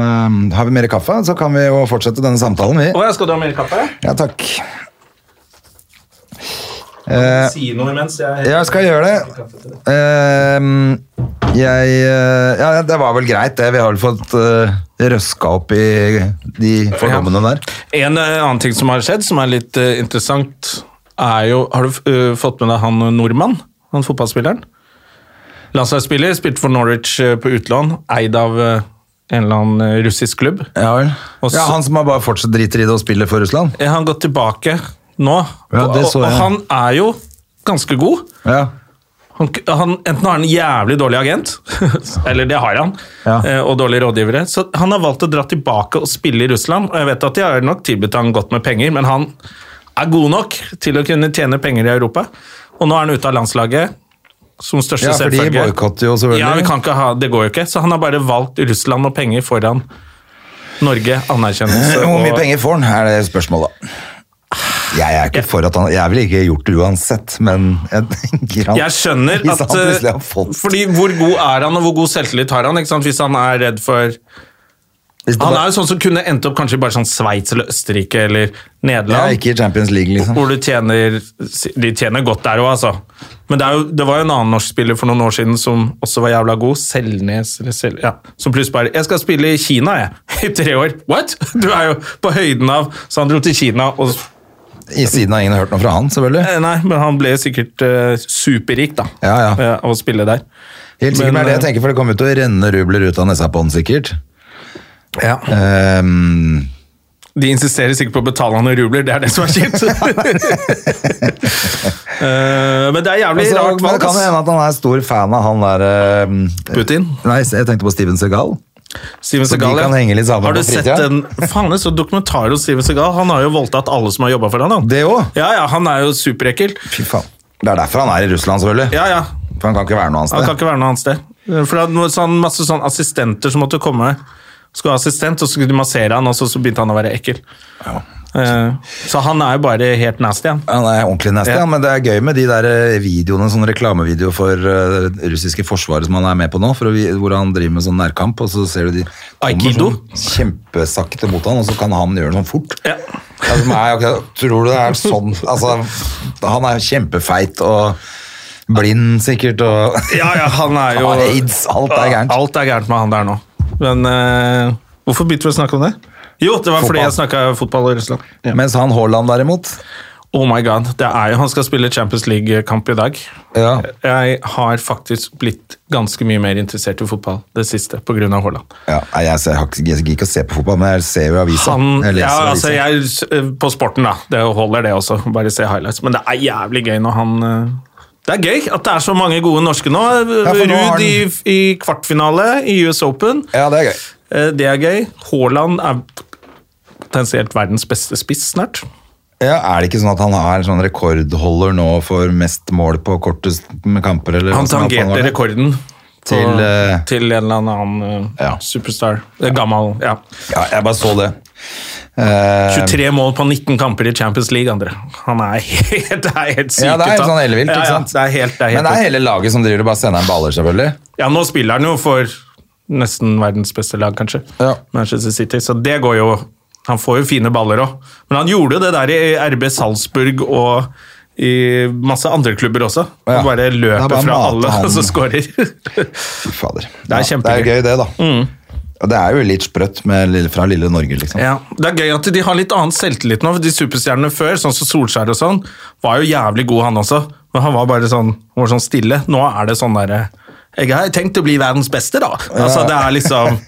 Speaker 2: eh, har vi mer kaffe, så kan vi jo fortsette denne samtalen, vi.
Speaker 1: ja, skal du ha mer kaffe?
Speaker 2: Ja, takk. Eh,
Speaker 1: Si noe imens. Jeg,
Speaker 2: Jeg skal gjøre det. Ehm, jeg eh, Ja, det var vel greit, det. Vi har vel fått uh, røska opp i de fordommene der.
Speaker 1: En eh, annen ting som har skjedd, som er litt eh, interessant, er jo Har du eh, fått med deg han eh, nordmann? Han fotballspilleren? Landslagsspiller, spilte for Norwich eh, på utlån, eid av eh, en eller annen eh, russisk klubb.
Speaker 2: Ja vel.
Speaker 1: Og så-
Speaker 2: Ja, han som har bare fortsatt driter i det og spiller for Russland?
Speaker 1: Eh, Han har gått tilbake nå,
Speaker 2: Ja, det så
Speaker 1: og, og
Speaker 2: jeg.
Speaker 1: han er jo ganske god.
Speaker 2: Ja.
Speaker 1: Han, k- han, enten har han en jævlig dårlig agent, eller det har han,
Speaker 2: Ja.
Speaker 1: eh, og dårlige rådgivere. Så han har valgt å dra tilbake og spille i Russland. Og jeg vet at de har nok tilbudt han godt med penger, men han er god nok til å kunne tjene penger i Europa. Og nå er han ute av landslaget som største
Speaker 2: Ja, for de
Speaker 1: selvfølge.
Speaker 2: boikotter jo selvfølgelig.
Speaker 1: Ja, vi kan ikke ha, det går jo ikke. Så han har bare valgt Russland og penger foran Norge, anerkjennelse
Speaker 2: Hvor mye
Speaker 1: og-
Speaker 2: penger får han, er det spørsmålet, da. Jeg er ikke for at han Jeg ville ikke gjort det uansett, men jeg tenker han
Speaker 1: Jeg skjønner
Speaker 2: Hvis
Speaker 1: at
Speaker 2: han plutselig har
Speaker 1: eh,
Speaker 2: fått
Speaker 1: Fordi hvor god er han, og hvor god selvtillit har han? Ikke sant? Hvis han er redd for
Speaker 2: Hvis
Speaker 1: Han
Speaker 2: det bare-
Speaker 1: er jo sånn som kunne endt opp kanskje bare sånn Sveits eller Østerrike eller
Speaker 2: Ja,
Speaker 1: Nederland.
Speaker 2: ikke i Champions League, liksom.
Speaker 1: Hvor du tjener De tjener godt der òg, altså. Men det, er jo, det var jo en annen norsk spiller for noen år siden som også var jævla god. Selnes eller Sel... Ja. Som plutselig bare 'Jeg skal spille i Kina, jeg.' I tre år. What?! Du er jo på høyden av Så han dro til Kina og
Speaker 2: I siden har ingen hørt noe fra han, selvfølgelig.
Speaker 1: eh, Nei, men han ble sikkert eh, superrik, da.
Speaker 2: Ja, ja.
Speaker 1: eh, Av å spille der.
Speaker 2: Helt sikkert
Speaker 1: Men,
Speaker 2: er det jeg
Speaker 1: eh,
Speaker 2: tenker, for det kommer til å renne rubler ut av nesa på han, sikkert.
Speaker 1: Ja.
Speaker 2: Ehm,
Speaker 1: De insisterer sikkert på å betale han i rubler, det er det som er kjipt. Eh, men det er jævlig
Speaker 2: altså,
Speaker 1: rart
Speaker 2: men det
Speaker 1: valg.
Speaker 2: kan jo
Speaker 1: ass.
Speaker 2: hende at han er stor fan av han der ehm,
Speaker 1: Putin.
Speaker 2: Nei, jeg tenkte på Steven Segal.
Speaker 1: Steven
Speaker 2: Så de
Speaker 1: Seagal, ja.
Speaker 2: kan henge litt sammen
Speaker 1: Har du
Speaker 2: på
Speaker 1: sett
Speaker 2: fritida?
Speaker 1: den Faen, det er så dokumentar om Steven Segal. Han har jo voldtatt alle som har jobba for han, han.
Speaker 2: Det òg?
Speaker 1: Ja, ja, han er jo superekkel.
Speaker 2: Fy faen. Det er derfor han er i Russland, selvfølgelig.
Speaker 1: Ja, ja.
Speaker 2: For han kan ikke være noe annet
Speaker 1: Han
Speaker 2: sted.
Speaker 1: kan ikke være noe annet sted. For det er noe sånn, masse sånn assistenter som måtte komme. Skulle ha assistent, og så skulle de massere han, og så, så begynte han å være ekkel. Eh, så han er jo bare helt nasty, han.
Speaker 2: Han er ordentlig nasty,
Speaker 1: Ja.
Speaker 2: ja. men det er gøy med de der eh, videoene, sånne reklamevideoer for eh, det russiske forsvaret som han er med på nå, for å, vi- hvor han driver med sånn nærkamp, og så ser du de kommer
Speaker 1: Aikido?
Speaker 2: sånn kjempesakte mot han, og så kan han gjøre det sånn fort.
Speaker 1: Ja.
Speaker 2: Altså, nei, ok, tror du det er sånn? Altså, han er kjempefeit og blind sikkert, og
Speaker 1: Ja, ja, han er jo
Speaker 2: Han har AIDS, alt er gærent.
Speaker 1: Ah, Alt er gærent med han der nå. Men eh, hvorfor begynte vi å snakke om det? Jo, det var fordi
Speaker 2: Fotball.
Speaker 1: jeg snakka fotball i Russland.
Speaker 2: mens han Haaland derimot,
Speaker 1: Oh my god, det er jo Han skal spille Champions League-kamp i dag.
Speaker 2: ja,
Speaker 1: Jeg har faktisk blitt ganske mye mer interessert i fotball det siste pga. Haaland.
Speaker 2: ja nei, jeg, ser, jeg, har ikke- jeg gidder ikke å se på fotball, men jeg ser jo avisa.
Speaker 1: Han,
Speaker 2: Jeg leser
Speaker 1: ja, altså
Speaker 2: avisa.
Speaker 1: jeg, eh, på sporten, da. Det holder, det også. Bare se highlights. Men det er jævlig gøy når han eh, Det er gøy at det er så mange gode norske nå.
Speaker 2: for nå
Speaker 1: Ruud
Speaker 2: har
Speaker 1: i, i kvartfinale i US Open.
Speaker 2: ja, det er gøy.
Speaker 1: Eh, Det er gøy. Haaland er potensielt verdens beste spiss snart.
Speaker 2: Ja, Er det ikke sånn at han er sånn rekordholder nå for mest mål på kortest med kamper? Eller
Speaker 1: Han
Speaker 2: hva som er
Speaker 1: tangerte
Speaker 2: var det?
Speaker 1: rekorden på,
Speaker 2: Til, eh,
Speaker 1: til en eller annen eh,
Speaker 2: Ja.
Speaker 1: superstar. Eh, Gammel, ja.
Speaker 2: Ja, jeg bare så det. Eh,
Speaker 1: 23 mål på 19 kamper i Champions League, André. Han er helt, det er helt sykt.
Speaker 2: ja, det er
Speaker 1: ut
Speaker 2: helt
Speaker 1: av-
Speaker 2: sånn ellevilt,
Speaker 1: Ja, ja,
Speaker 2: ikke sant?
Speaker 1: det er helt, det er helt
Speaker 2: Men det
Speaker 1: ut.
Speaker 2: er hele laget som driver og bare sender en baller, selvfølgelig.
Speaker 1: Ja, nå spiller han jo for nesten verdens beste lag, kanskje.
Speaker 2: Ja.
Speaker 1: Manchester City, så det går jo Han får jo fine baller òg. Men han gjorde jo det der i RB Salzburg og i masse andre klubber også.
Speaker 2: Ja.
Speaker 1: Han bare
Speaker 2: Det er
Speaker 1: løper
Speaker 2: bare
Speaker 1: fra
Speaker 2: mate
Speaker 1: alle
Speaker 2: han.
Speaker 1: og så skårer.
Speaker 2: Fy fader.
Speaker 1: er
Speaker 2: det er
Speaker 1: kjempegøy. Mm.
Speaker 2: jo gøy, det, da. Og det er jo litt sprøtt med, lille- fra lille Norge, liksom.
Speaker 1: ja. Det er gøy at de har litt annen selvtillit nå. for De superstjernene før, sånn som Solskjær og sånn, var jo jævlig god, han også. Men han var bare sånn, var sånn stille. Nå er det sånn derre Jeg har tenkt å bli verdens beste, da. Altså, det er liksom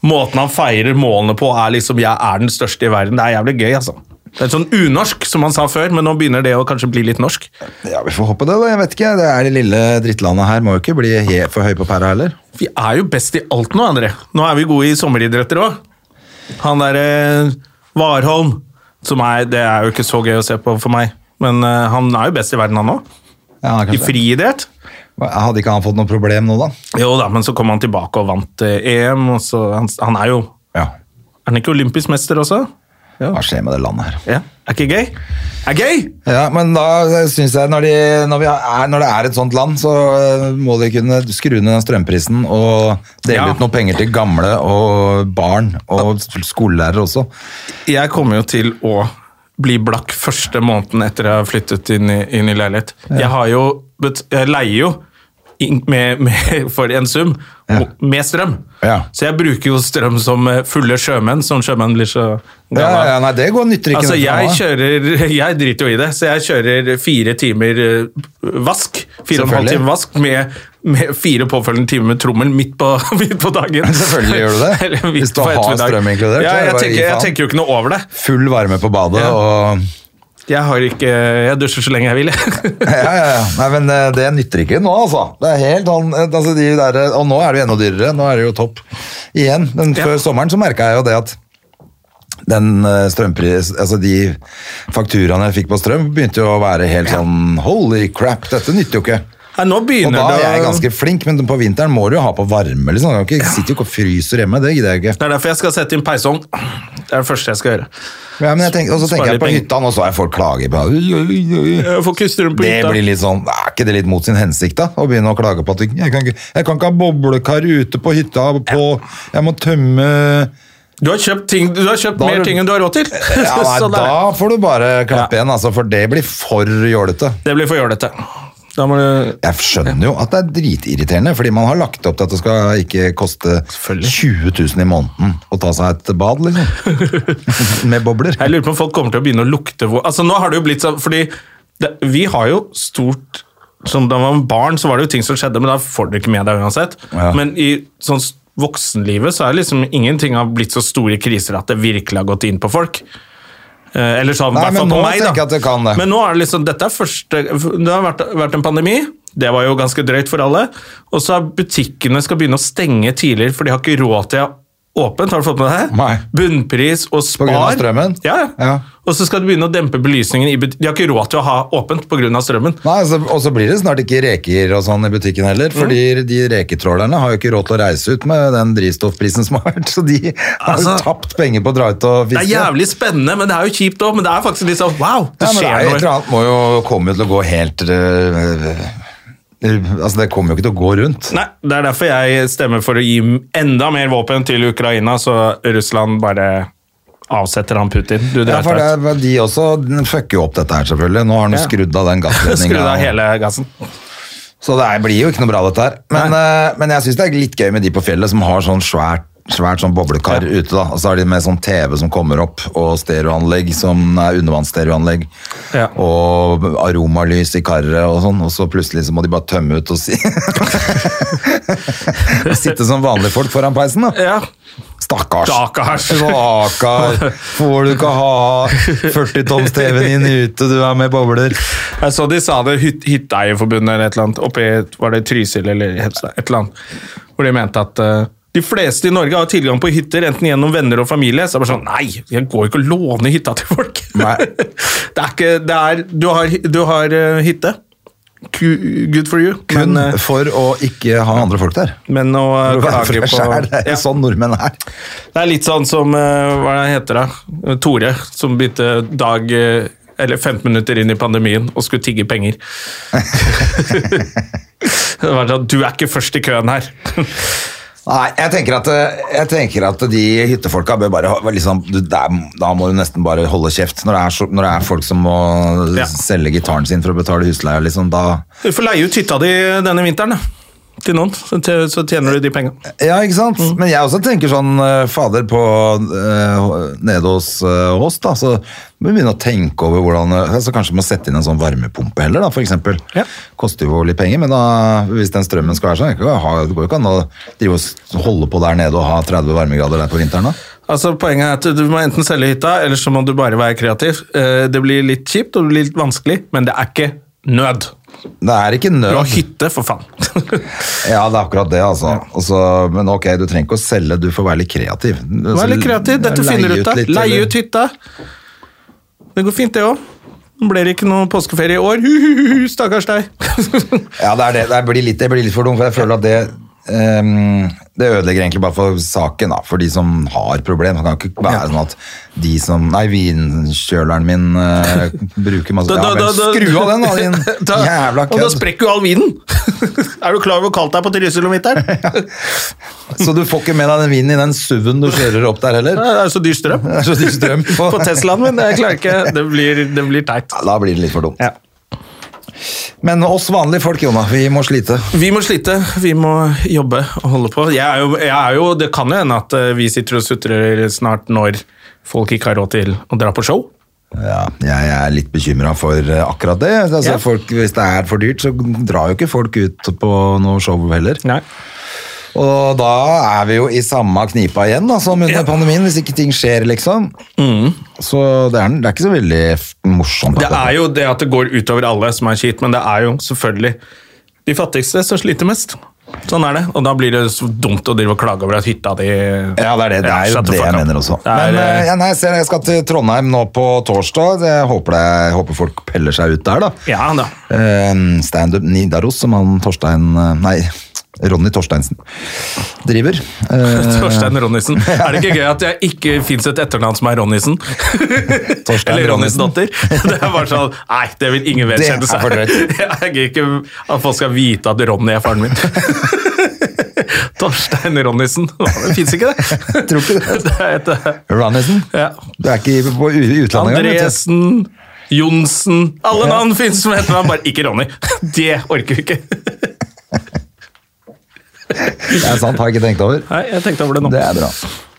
Speaker 1: Måten han feirer målene på, er liksom 'jeg er den største i verden'. Det er jævlig gøy, altså. Det er sånn unorsk, som han sa før, men nå begynner det å kanskje bli litt norsk.
Speaker 2: Ja, Vi får håpe det, da. Jeg vet ikke. Det er det lille drittlandet her. Må jo ikke bli helt for høy på pæra heller.
Speaker 1: Vi er jo best i alt nå, André. Nå er vi gode i sommeridretter òg. Han derre eh, Warholm, som er Det er jo ikke så gøy å se på for meg, men eh, han er jo best i verden, han òg.
Speaker 2: Ja,
Speaker 1: I
Speaker 2: kanskje.
Speaker 1: friidrett.
Speaker 2: Hadde ikke han fått noe problem nå, da?
Speaker 1: Jo da, men så kom han tilbake og vant eh, EM, og så han, han er jo
Speaker 2: Ja.
Speaker 1: Er han ikke olympisk mester også?
Speaker 2: Hva skjer med det landet her?
Speaker 1: Ja. Er ikke gøy? Er gøy!
Speaker 2: Ja, men da syns jeg når, de, når, vi er, når det er et sånt land, så øh, må de kunne skru ned den strømprisen og dele
Speaker 1: Ja.
Speaker 2: ut noen penger til gamle og barn og skolelærere også.
Speaker 1: Jeg kommer jo til å bli blakk første måneden etter jeg har flyttet inn i, inn i leilighet. Jeg har jo bet- Jeg leier jo inn- med, med, for en sum
Speaker 2: Ja.
Speaker 1: og- med strøm.
Speaker 2: Ja.
Speaker 1: Så jeg bruker jo strøm som eh, fulle sjømenn, som sjømenn blir så
Speaker 2: Ja,
Speaker 1: gale av.
Speaker 2: ja, nei, det går nytter ikke.
Speaker 1: Altså,
Speaker 2: noe for
Speaker 1: jeg
Speaker 2: meg.
Speaker 1: kjører Jeg driter jo i det, så jeg kjører fire timer eh, vask. Fire og en halv
Speaker 2: Selvfølgelig.
Speaker 1: time vask med, med fire påfølgende timer med trommel midt på, midt på dagen.
Speaker 2: Selvfølgelig gjør du det.
Speaker 1: Eller midt
Speaker 2: Hvis du
Speaker 1: på
Speaker 2: har
Speaker 1: ettermiddag.
Speaker 2: strøm inkludert, så
Speaker 1: Ja,
Speaker 2: er
Speaker 1: jeg
Speaker 2: det bare å gi
Speaker 1: tenker, jeg
Speaker 2: faen.
Speaker 1: tenker jo ikke noe over det.
Speaker 2: Full varme på badet
Speaker 1: Ja.
Speaker 2: og
Speaker 1: Jeg har ikke Jeg dusjer så lenge jeg vil, jeg.
Speaker 2: Ja, ja, ja. Nei, men eh, det nytter ikke nå, altså. Det er helt sånn, eh, altså de der, eh, og nå er det jo enda dyrere. Nå er det jo topp igjen. Men
Speaker 1: Ja.
Speaker 2: før sommeren så merka jeg jo det at den eh, strømpris, altså de fakturaene jeg fikk på strøm, begynte jo å være helt sånn holy crap, dette nytter jo ikke.
Speaker 1: Nei, nå
Speaker 2: Og
Speaker 1: begynner
Speaker 2: da
Speaker 1: det
Speaker 2: er jeg
Speaker 1: å-
Speaker 2: ganske flink, men på vinteren må du jo ha på varme. liksom. Du kan ikke sitte jo ikke og fryser hjemme, det gidder jeg ikke.
Speaker 1: Det er derfor jeg skal sette inn peisovn. Det er det første jeg skal gjøre.
Speaker 2: Ja, men jeg tenker, og så
Speaker 1: Spare
Speaker 2: tenker jeg på
Speaker 1: litt
Speaker 2: hytta, nå så jeg folk klage på oi, oi, oi.
Speaker 1: Jeg får ikke strøm på
Speaker 2: Det
Speaker 1: hytta.
Speaker 2: blir litt sånn, er ikke det litt mot sin hensikt da? Å begynne å klage på at du- jeg kan ikke, jeg kan ikke ha boblekar ute på hytta, på, jeg må tømme...
Speaker 1: Du har kjøpt, ting, du har kjøpt
Speaker 2: Da har
Speaker 1: mer
Speaker 2: du-
Speaker 1: ting enn du har råd til.
Speaker 2: Ja, nei,
Speaker 1: Sånn er det.
Speaker 2: da får du bare klappe igjen, altså, for det blir for jålete.
Speaker 1: Det blir for jålete. Da må du
Speaker 2: Jeg skjønner jo at det er dritirriterende, fordi man har lagt opp til at det skal ikke koste 20 000 i måneden å ta seg et bad, liksom. Med bobler.
Speaker 1: Jeg lurer på om folk kommer til å begynne å lukte hvor Altså, nå har det jo blitt sånn Fordi det, vi har jo stort som Da man var barn, så var det jo ting som skjedde, men da får du ikke med deg uansett.
Speaker 2: Ja.
Speaker 1: Men i sånn s- voksenlivet så er det liksom ingenting har blitt så store kriser at det virkelig har gått inn på folk. Eh, eller sånn, i
Speaker 2: Nei,
Speaker 1: hvert
Speaker 2: men
Speaker 1: fall på
Speaker 2: nå
Speaker 1: meg,
Speaker 2: tenker jeg at det kan det.
Speaker 1: Men nå er det liksom Dette er første Det har vært, vært en pandemi. Det var jo ganske drøyt for alle. Og så er butikkene skal begynne å stenge tidligere, for de har ikke råd til å ha åpent. Har du fått med deg det?
Speaker 2: Nei.
Speaker 1: Bunnpris og
Speaker 2: På grunn av
Speaker 1: Spar.
Speaker 2: strømmen?
Speaker 1: Ja,
Speaker 2: Ja.
Speaker 1: Og så skal de begynne å dempe belysningen. I buti- de har ikke råd til å ha åpent pga. strømmen.
Speaker 2: Nei, så, og så blir det snart ikke reker og sånn i butikken heller,
Speaker 1: Mm.
Speaker 2: fordi de reketrålerne har jo ikke råd til å reise ut med den drivstoffprisen som har vært, så de har jo
Speaker 1: Altså,
Speaker 2: tapt penger på å dra ut og
Speaker 1: Det
Speaker 2: fiske.
Speaker 1: er jævlig spennende, men det er jo kjipt òg. Men det er faktisk litt sånn wow, det
Speaker 2: Ja, men det er
Speaker 1: skjer
Speaker 2: jo et eller
Speaker 1: noe.
Speaker 2: annet må jo komme til å gå helt øh, øh, Altså, det kommer jo ikke til å gå rundt.
Speaker 1: Nei, Det er derfor jeg stemmer for å gi m- enda mer våpen til Ukraina, så Russland bare avsetter han Putin. Du
Speaker 2: Ja,
Speaker 1: dreit
Speaker 2: for
Speaker 1: deg
Speaker 2: det,
Speaker 1: ut.
Speaker 2: er- De også den fucker jo opp dette her, selvfølgelig. Nå har han jo
Speaker 1: Ja.
Speaker 2: skrudd av den
Speaker 1: Skru av
Speaker 2: gassledninga.
Speaker 1: hele gassen.
Speaker 2: Så det er, blir jo ikke noe bra, dette her. Men, eh, men jeg syns det er litt gøy med de på fjellet som har sånn svært svært sånn boblekar ute da, og så har de med sånn TV som kommer opp og stereoanlegg som er undervannsstereoanlegg
Speaker 1: Ja.
Speaker 2: og aromalys i karret og sånn, og så plutselig så må de bare tømme ut og si og sitte som vanlige folk foran peisen da
Speaker 1: Ja.
Speaker 2: Stakkars.
Speaker 1: Stakkars.
Speaker 2: Stakkar. Får du ikke ha 40-toms TV-en din ute, du er med bobler.
Speaker 1: Jeg så de sa det hyt, Hytteeierforbundet eller et eller annet, oppe i var det Trysil eller Hemsedal, et eller annet, hvor de mente at eh, de fleste i Norge har tilgang på hytter, enten gjennom venner og familie. Så er det bare sånn Nei, jeg går ikke og låner hytta til folk!
Speaker 2: Nei.
Speaker 1: det er ikke Det er Du har, du har eh, hytte. Ku- Good for you.
Speaker 2: Kun
Speaker 1: men, eh,
Speaker 2: for å ikke ha andre folk der.
Speaker 1: men å eh, klage på
Speaker 2: det er
Speaker 1: Ja.
Speaker 2: jo sånn nordmenn er.
Speaker 1: Det er litt sånn som eh, Hva er det han heter da? Tore, som begynte dag eh, Eller 15 minutter inn i pandemien og skulle tigge penger. det var sånn, Du er ikke først i køen her.
Speaker 2: Nei, jeg tenker at, eh, jeg tenker at de hyttefolka bør bare ha- liksom, du, der, Da må du nesten bare holde kjeft. Når det er, så, når det er folk som må
Speaker 1: Ja.
Speaker 2: selge gitaren sin for å betale husleia, liksom, da
Speaker 1: Du får leie ut hytta di denne vinteren da, til noen, så t- så tjener du de penga.
Speaker 2: Ja, ikke sant?
Speaker 1: Mm.
Speaker 2: Men jeg også tenker sånn, eh, fader, på eh, nede hos eh, oss, da, så må vi begynne å tenke over hvordan eh, altså Kanskje vi må sette inn en sånn varmepumpe heller, da, for eksempel.
Speaker 1: Ja.
Speaker 2: Koster jo litt penger, men da, hvis den strømmen skal være sånn, jeg kan ikke ha- det går jo ikke an å drive og s- holde på der nede og ha 30 varmegrader der på vinteren, da.
Speaker 1: Altså, poenget er at du må enten selge hytta, eller så må du bare være kreativ. Eh, Det blir litt kjipt og det blir litt vanskelig, men det er ikke nød.
Speaker 2: Det er ikke
Speaker 1: Du har
Speaker 2: nød.
Speaker 1: hytte, for faen.
Speaker 2: Ja, det er akkurat det, altså. Og så- men ok, du trenger ikke å selge, du får være litt kreativ.
Speaker 1: Vær
Speaker 2: Altså,
Speaker 1: litt kreativ. Dette finner du ut av. Leie ut hytta. Det går fint, det òg. Nå ble det ikke noe påskeferie i år. Huhuhu, stakkars deg.
Speaker 2: Ja, det, er det. det, blir litt, det blir litt for dumt, for jeg føler at det ehm, det ødelegger egentlig bare for saken, da, for de som har problem. Det kan ikke være sånn at de som Nei, vinkjøleren min eh, bruker masse
Speaker 1: Da- da-
Speaker 2: Ja,
Speaker 1: da-
Speaker 2: vel,
Speaker 1: da-
Speaker 2: skru av den, da, din
Speaker 1: Da-
Speaker 2: jævla
Speaker 1: Og da
Speaker 2: kødd!
Speaker 1: sprekker jo all vinen! er du klar over hvor kaldt det er på Trysil om vinteren?
Speaker 2: Så du får ikke med deg den vinen i den SUV-en du kjører opp der heller?
Speaker 1: Det er så dyr strøm.
Speaker 2: Det er så dyr strøm på.
Speaker 1: På Teslaen min. Jeg klarer ikke. Det blir, det blir teit.
Speaker 2: Ja, Da blir det litt for dumt.
Speaker 1: Ja.
Speaker 2: Men oss vanlige folk, Jonna, vi må slite.
Speaker 1: Vi må slite, vi må jobbe og holde på. Jeg er jo, jeg er jo, det kan jo hende at eh, vi sitter og sutrer snart når folk ikke har råd til å dra på show.
Speaker 2: Ja, jeg er litt bekymra for eh, akkurat det. Altså,
Speaker 1: Ja.
Speaker 2: folk, hvis det er for dyrt, så drar jo ikke folk ut på noe show heller.
Speaker 1: Nei.
Speaker 2: Og da er vi jo i samme knipa igjen da, som under pandemien, hvis ikke ting skjer, liksom. Så det er, det er ikke så veldig f- morsomt.
Speaker 1: Mm. Det er jo det at det går utover alle som er kjipt, men det er jo selvfølgelig de fattigste som sliter mest. Sånn er det, og da blir det så dumt å drive og klage over at hytta di
Speaker 2: Ja, det er det. Det er jo
Speaker 1: shut the
Speaker 2: det
Speaker 1: fuck
Speaker 2: jeg
Speaker 1: up.
Speaker 2: mener også.
Speaker 1: Det er,
Speaker 2: Men eh,
Speaker 1: eh,
Speaker 2: ja, nei, jeg ser det, jeg skal til Trondheim nå på torsdag. Jeg håper, det, jeg håper folk peller seg ut der, da.
Speaker 1: ja da.
Speaker 2: Eh, Standup Nidaros, som han Torstein eh, Nei, Ronny Torsteinsen driver. Eh,
Speaker 1: Torstein Ronnissen. Er det ikke gøy at jeg ikke fins et etternavn som er Ronnissen?
Speaker 2: Torstein
Speaker 1: Eller Ronnys
Speaker 2: Ronnissen.
Speaker 1: datter? Det er bare sånn Nei, det vil ingen
Speaker 2: Det er
Speaker 1: vedkjenne seg.
Speaker 2: for drøyt.
Speaker 1: Jeg gidder ikke at folk skal vite at Ronny er faren min. Torstein Ronnissen. Det fins ikke, det.
Speaker 2: Tror ikke det.
Speaker 1: Det er et, eh,
Speaker 2: Ronnisen.
Speaker 1: Ja.
Speaker 2: Du er ikke i- på u- i utlandet engang. vet du.
Speaker 1: Andresen, Johnsen Alle
Speaker 2: Ja.
Speaker 1: navn finnes som heter meg, bare ikke Ronny. Det orker vi ikke.
Speaker 2: Det er sant, har jeg ikke tenkt over.
Speaker 1: Nei, jeg tenkte over det nå.
Speaker 2: Det er bra.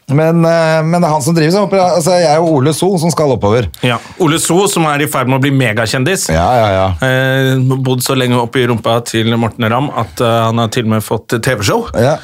Speaker 2: Men, eh, men det er han som driver, så jeg håper altså, Jeg er jo Ole So som skal oppover.
Speaker 1: Ja. Ole So, som er i ferd med å bli megakjendis.
Speaker 2: Ja, ja, ja.
Speaker 1: Eh, bodd så lenge oppi rumpa til Morten Ramm at eh, han har til og med fått TV-show.
Speaker 2: Ja,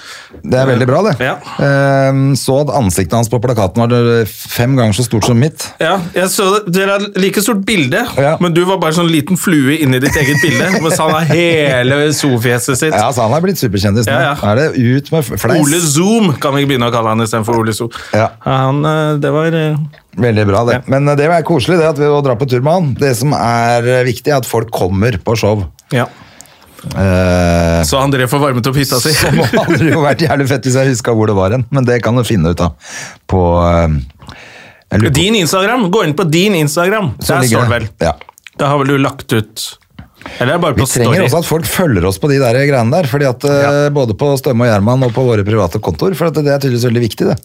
Speaker 2: det er veldig bra, det.
Speaker 1: Ja.
Speaker 2: Eh, så at ansiktet hans på plakaten var det fem ganger så stort som mitt.
Speaker 1: Ja, jeg så det. Dere har like stort bilde,
Speaker 2: Ja.
Speaker 1: men du var bare sånn liten flue inni ditt eget bilde. Mens han har hele so-fjeset sitt.
Speaker 2: Ja, så han er blitt superkjendis nå.
Speaker 1: Ja, ja.
Speaker 2: Er det ut med f- fleis?
Speaker 1: Ole Zoom kan vi begynne å kalle han istedenfor Ole So.
Speaker 2: Ja.
Speaker 1: Han, eh, det var eh,
Speaker 2: Veldig bra, det. Men eh, det er koselig det at vi å dra på tur med han. Det som er eh, viktig, er at folk kommer på show.
Speaker 1: Ja.
Speaker 2: Eh,
Speaker 1: Så André får varmet opp hytta si.
Speaker 2: så må det hadde jo vært jævlig fett hvis jeg huska hvor det var hen, men det kan du finne ut av. På eh, jeg lurer på-
Speaker 1: Din Instagram! Gå inn på din Instagram.
Speaker 2: så
Speaker 1: Der
Speaker 2: ligger
Speaker 1: står det vel.
Speaker 2: Ja.
Speaker 1: Da har vel du lagt ut Eller er det bare
Speaker 2: Vi
Speaker 1: på
Speaker 2: trenger
Speaker 1: story?
Speaker 2: også at folk følger oss på de der greiene der, fordi at eh, både på Stømme og Gjerman og på våre private kontor, for at det er tydeligvis veldig viktig, det.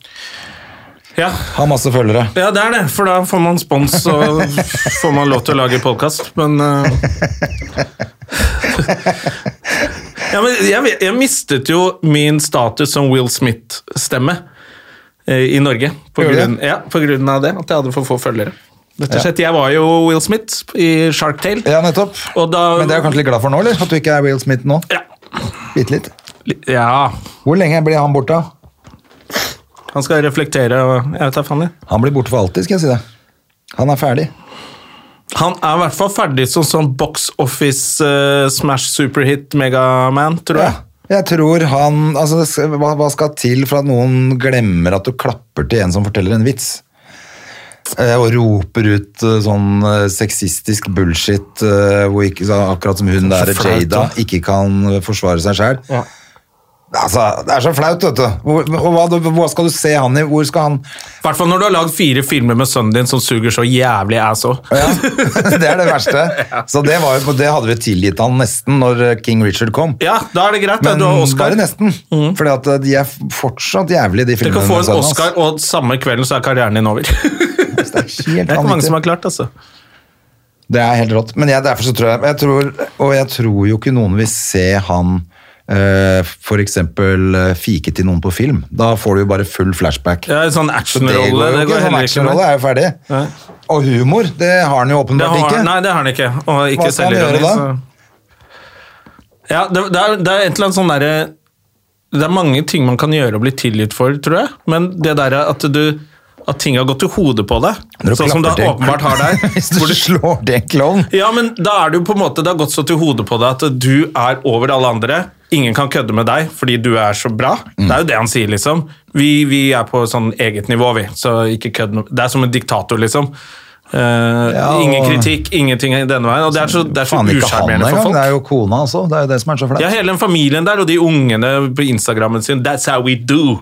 Speaker 1: Ja.
Speaker 2: Ha masse følgere.
Speaker 1: ja, det er det, for da får man spons og får man lov til å lage podkast, men eh, ja, men jeg, vet- jeg mistet jo min status som Will Smith-stemme eh, i Norge på
Speaker 2: Gjorde du
Speaker 1: grunn, ja, på grunn av det, at jeg hadde for få følgere. Rett og slett, Jeg var jo Will Smith i Shark Tale.
Speaker 2: Ja, nettopp.
Speaker 1: Og da-
Speaker 2: Men det er du kanskje litt glad for nå, eller? At du ikke er Will Smith nå?
Speaker 1: Ja.
Speaker 2: Bitte litt.
Speaker 1: ja.
Speaker 2: Hvor lenge blir han borte? da?
Speaker 1: Han skal reflektere og Jeg vet da faen. jeg.
Speaker 2: Han blir borte for alltid, skal jeg si det. Han er ferdig.
Speaker 1: Han er i hvert fall ferdig som sånn box office eh, smash superhit megaman, tror
Speaker 2: Ja.
Speaker 1: jeg.
Speaker 2: Jeg tror han altså, det skal- hva, hva skal til for at noen glemmer at du klapper til en som forteller en vits? Eh, og roper ut eh, sånn eh, sexistisk bullshit eh, hvor ikke, så akkurat som hun der
Speaker 1: Så flaut,
Speaker 2: Jada
Speaker 1: da.
Speaker 2: ikke kan forsvare seg sjøl. Altså, det er så flaut, vet du. Hvor, og hva, hva skal du se han i? Hvor skal han
Speaker 1: I hvert fall når du har lagd fire filmer med sønnen din som suger så jævlig ass òg.
Speaker 2: Ja, det er det verste. Så det, var jo, det hadde vi tilgitt han nesten når King Richard kom.
Speaker 1: Ja, da er det greit. da.
Speaker 2: Men
Speaker 1: du har
Speaker 2: bare
Speaker 1: Oscar.
Speaker 2: nesten. Fordi at eh, de er fortsatt jævlige, de
Speaker 1: Du
Speaker 2: filmene.
Speaker 1: kan få
Speaker 2: med
Speaker 1: en
Speaker 2: sønnen hans.
Speaker 1: Oscar, og samme kvelden så er karrieren din over. Det
Speaker 2: Det er
Speaker 1: er
Speaker 2: helt
Speaker 1: ikke mange som
Speaker 2: vanvittig.
Speaker 1: har klart, altså.
Speaker 2: Det er helt rått. Men jeg, derfor så tror jeg, jeg tror, Og jeg tror jo ikke noen vil se han eh, for eksempel eh, fike til noen på film. Da får du jo bare full flashback.
Speaker 1: Ja, en sånn
Speaker 2: Så det går
Speaker 1: actionrolle
Speaker 2: jo
Speaker 1: det går
Speaker 2: ikke. Sånn
Speaker 1: heller ikke. med.
Speaker 2: actionrolle er jo ferdig.
Speaker 1: Nei.
Speaker 2: Og humor, det har han jo
Speaker 1: Det
Speaker 2: åpenbart
Speaker 1: har,
Speaker 2: ikke.
Speaker 1: nei, det har han ikke. Og ikke
Speaker 2: Hva skal han
Speaker 1: selvironi,
Speaker 2: gjøre
Speaker 1: så- Ja, det, det, er, det er et eller annet sånn derre Det er mange ting man kan gjøre og bli tilgitt for, tror jeg, men det der er at du at ting har gått til hodet på deg,
Speaker 2: Når du
Speaker 1: sånn som det
Speaker 2: klapper til-
Speaker 1: åpenbart har der.
Speaker 2: Hvis du
Speaker 1: hvor du-
Speaker 2: slår det en klovn
Speaker 1: Ja, men da er det jo på en måte Det har gått så til hodet på deg at du er over alle andre. Ingen kan kødde med deg fordi du er så bra.
Speaker 2: Mm.
Speaker 1: Det er jo det han sier, liksom. Vi, vi er på sånn eget nivå, vi. Så ikke kødd med Det er som en diktator, liksom. Eh,
Speaker 2: og-
Speaker 1: Ingen kritikk, ingenting i denne veien. Og det er så, det er så
Speaker 2: Faen, ikke han
Speaker 1: usjarmerende
Speaker 2: engang.
Speaker 1: for
Speaker 2: Det er
Speaker 1: folk.
Speaker 2: jo kona også. Det er jo det som er så flaut.
Speaker 1: Ja, hele den familien der, og de ungene på Instagrammen sin. That's how we do.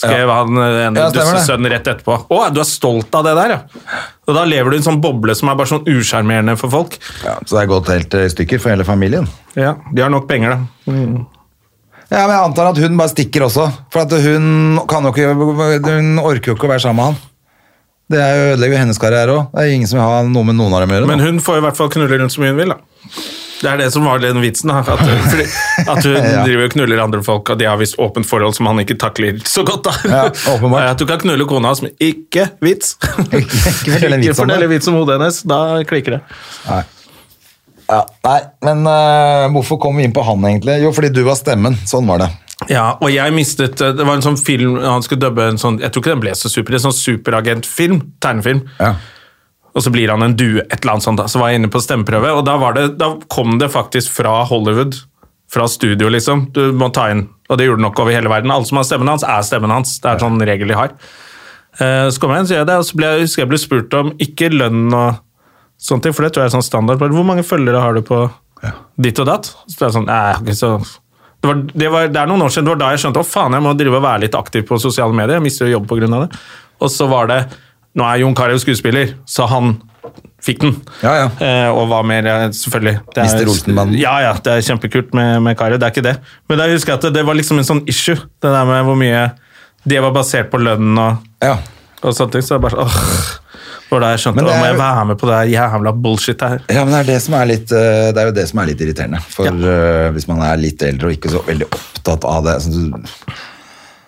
Speaker 1: Skrev han eh, en
Speaker 2: Ja,
Speaker 1: ja,
Speaker 2: stemmer det.
Speaker 1: dussesønn rett etterpå. Å, du er stolt av det der, ja. Og da lever du i en sånn boble som er bare sånn usjarmerende for folk.
Speaker 2: Ja, så det er gått helt eh, i stykker for hele familien.
Speaker 1: Ja, De har nok penger, da.
Speaker 2: Ja, men Jeg antar at hun bare stikker også. For at hun, kan jo ikke, hun orker jo ikke å være sammen med han. Det er jo ødelegger jo hennes karriere òg. Det er jo ingen som vil ha noe med noen av dem å gjøre. nå.
Speaker 1: Men hun får i hvert fall knulle rundt så mye hun vil, da. Det er det som var den vitsen, da. At, hun- fordi, at hun
Speaker 2: Ja.
Speaker 1: driver og knuller andre folk, og de har visst åpent forhold som han ikke takler så godt, da.
Speaker 2: Ja, åpenbart.
Speaker 1: At du kan knulle kona hans, men ikke vits.
Speaker 2: Ikke- ikke fortelle en vits om det.
Speaker 1: fortelle vits om hodet hennes, da klikker det.
Speaker 2: Nei. eh, Ja, nei, men øh, hvorfor kom vi inn på han, egentlig? Jo, fordi du var stemmen. Sånn var det.
Speaker 1: Ja, og jeg mistet eh, Det var en sånn film han skulle dubbe en sånn Jeg tror ikke den ble så super, en sånn superagentfilm. Tegnefilm.
Speaker 2: Ja.
Speaker 1: Og så blir han en due, et eller annet sånt. da. Så var jeg inne på stemmeprøve, og da, var det, da kom det faktisk fra Hollywood. Fra studio, liksom. Du må ta inn. Og det gjorde det nok over hele verden. Alle som har stemmen hans, er stemmen hans. Det er en sånn regel de har. Eh, Så kom jeg inn, så gjør jeg det, og så ble jeg, husker jeg ble spurt om ikke lønn og sånne ting, for det tror jeg er sånn standard. Bare, Hvor mange følgere har du på ditt og datt? Så ble jeg sånn, nei, jeg har ikke så... Det, var, det, var, det er noen år siden, det var da jeg skjønte, å faen, jeg må drive og være litt aktiv på sosiale medier, jeg mister jo jobb på grunn av det. Og så var det, nå er Jon Karev skuespiller, så han fikk den.
Speaker 2: Ja, ja.
Speaker 1: Eh, og hva mer, eh, selvfølgelig. Det
Speaker 2: Mr. Olsenbanden.
Speaker 1: Ja, ja, det er kjempekult med, med Karev, det er ikke det. Men da husker jeg at det, det var liksom en sånn issue, det der med hvor mye, det var basert på lønnen og...
Speaker 2: Ja.
Speaker 1: Og sånne ting, så er det bare sånn åh, Det var da jeg skjønte at
Speaker 2: Men det
Speaker 1: må
Speaker 2: er
Speaker 1: jeg
Speaker 2: jo-
Speaker 1: være med på det her jævla bullshit her.
Speaker 2: Ja, men det er, det, som er litt, eh, det er jo det som er litt irriterende. For
Speaker 1: Ja.
Speaker 2: eh, hvis man er litt eldre og ikke så veldig opptatt av det så du,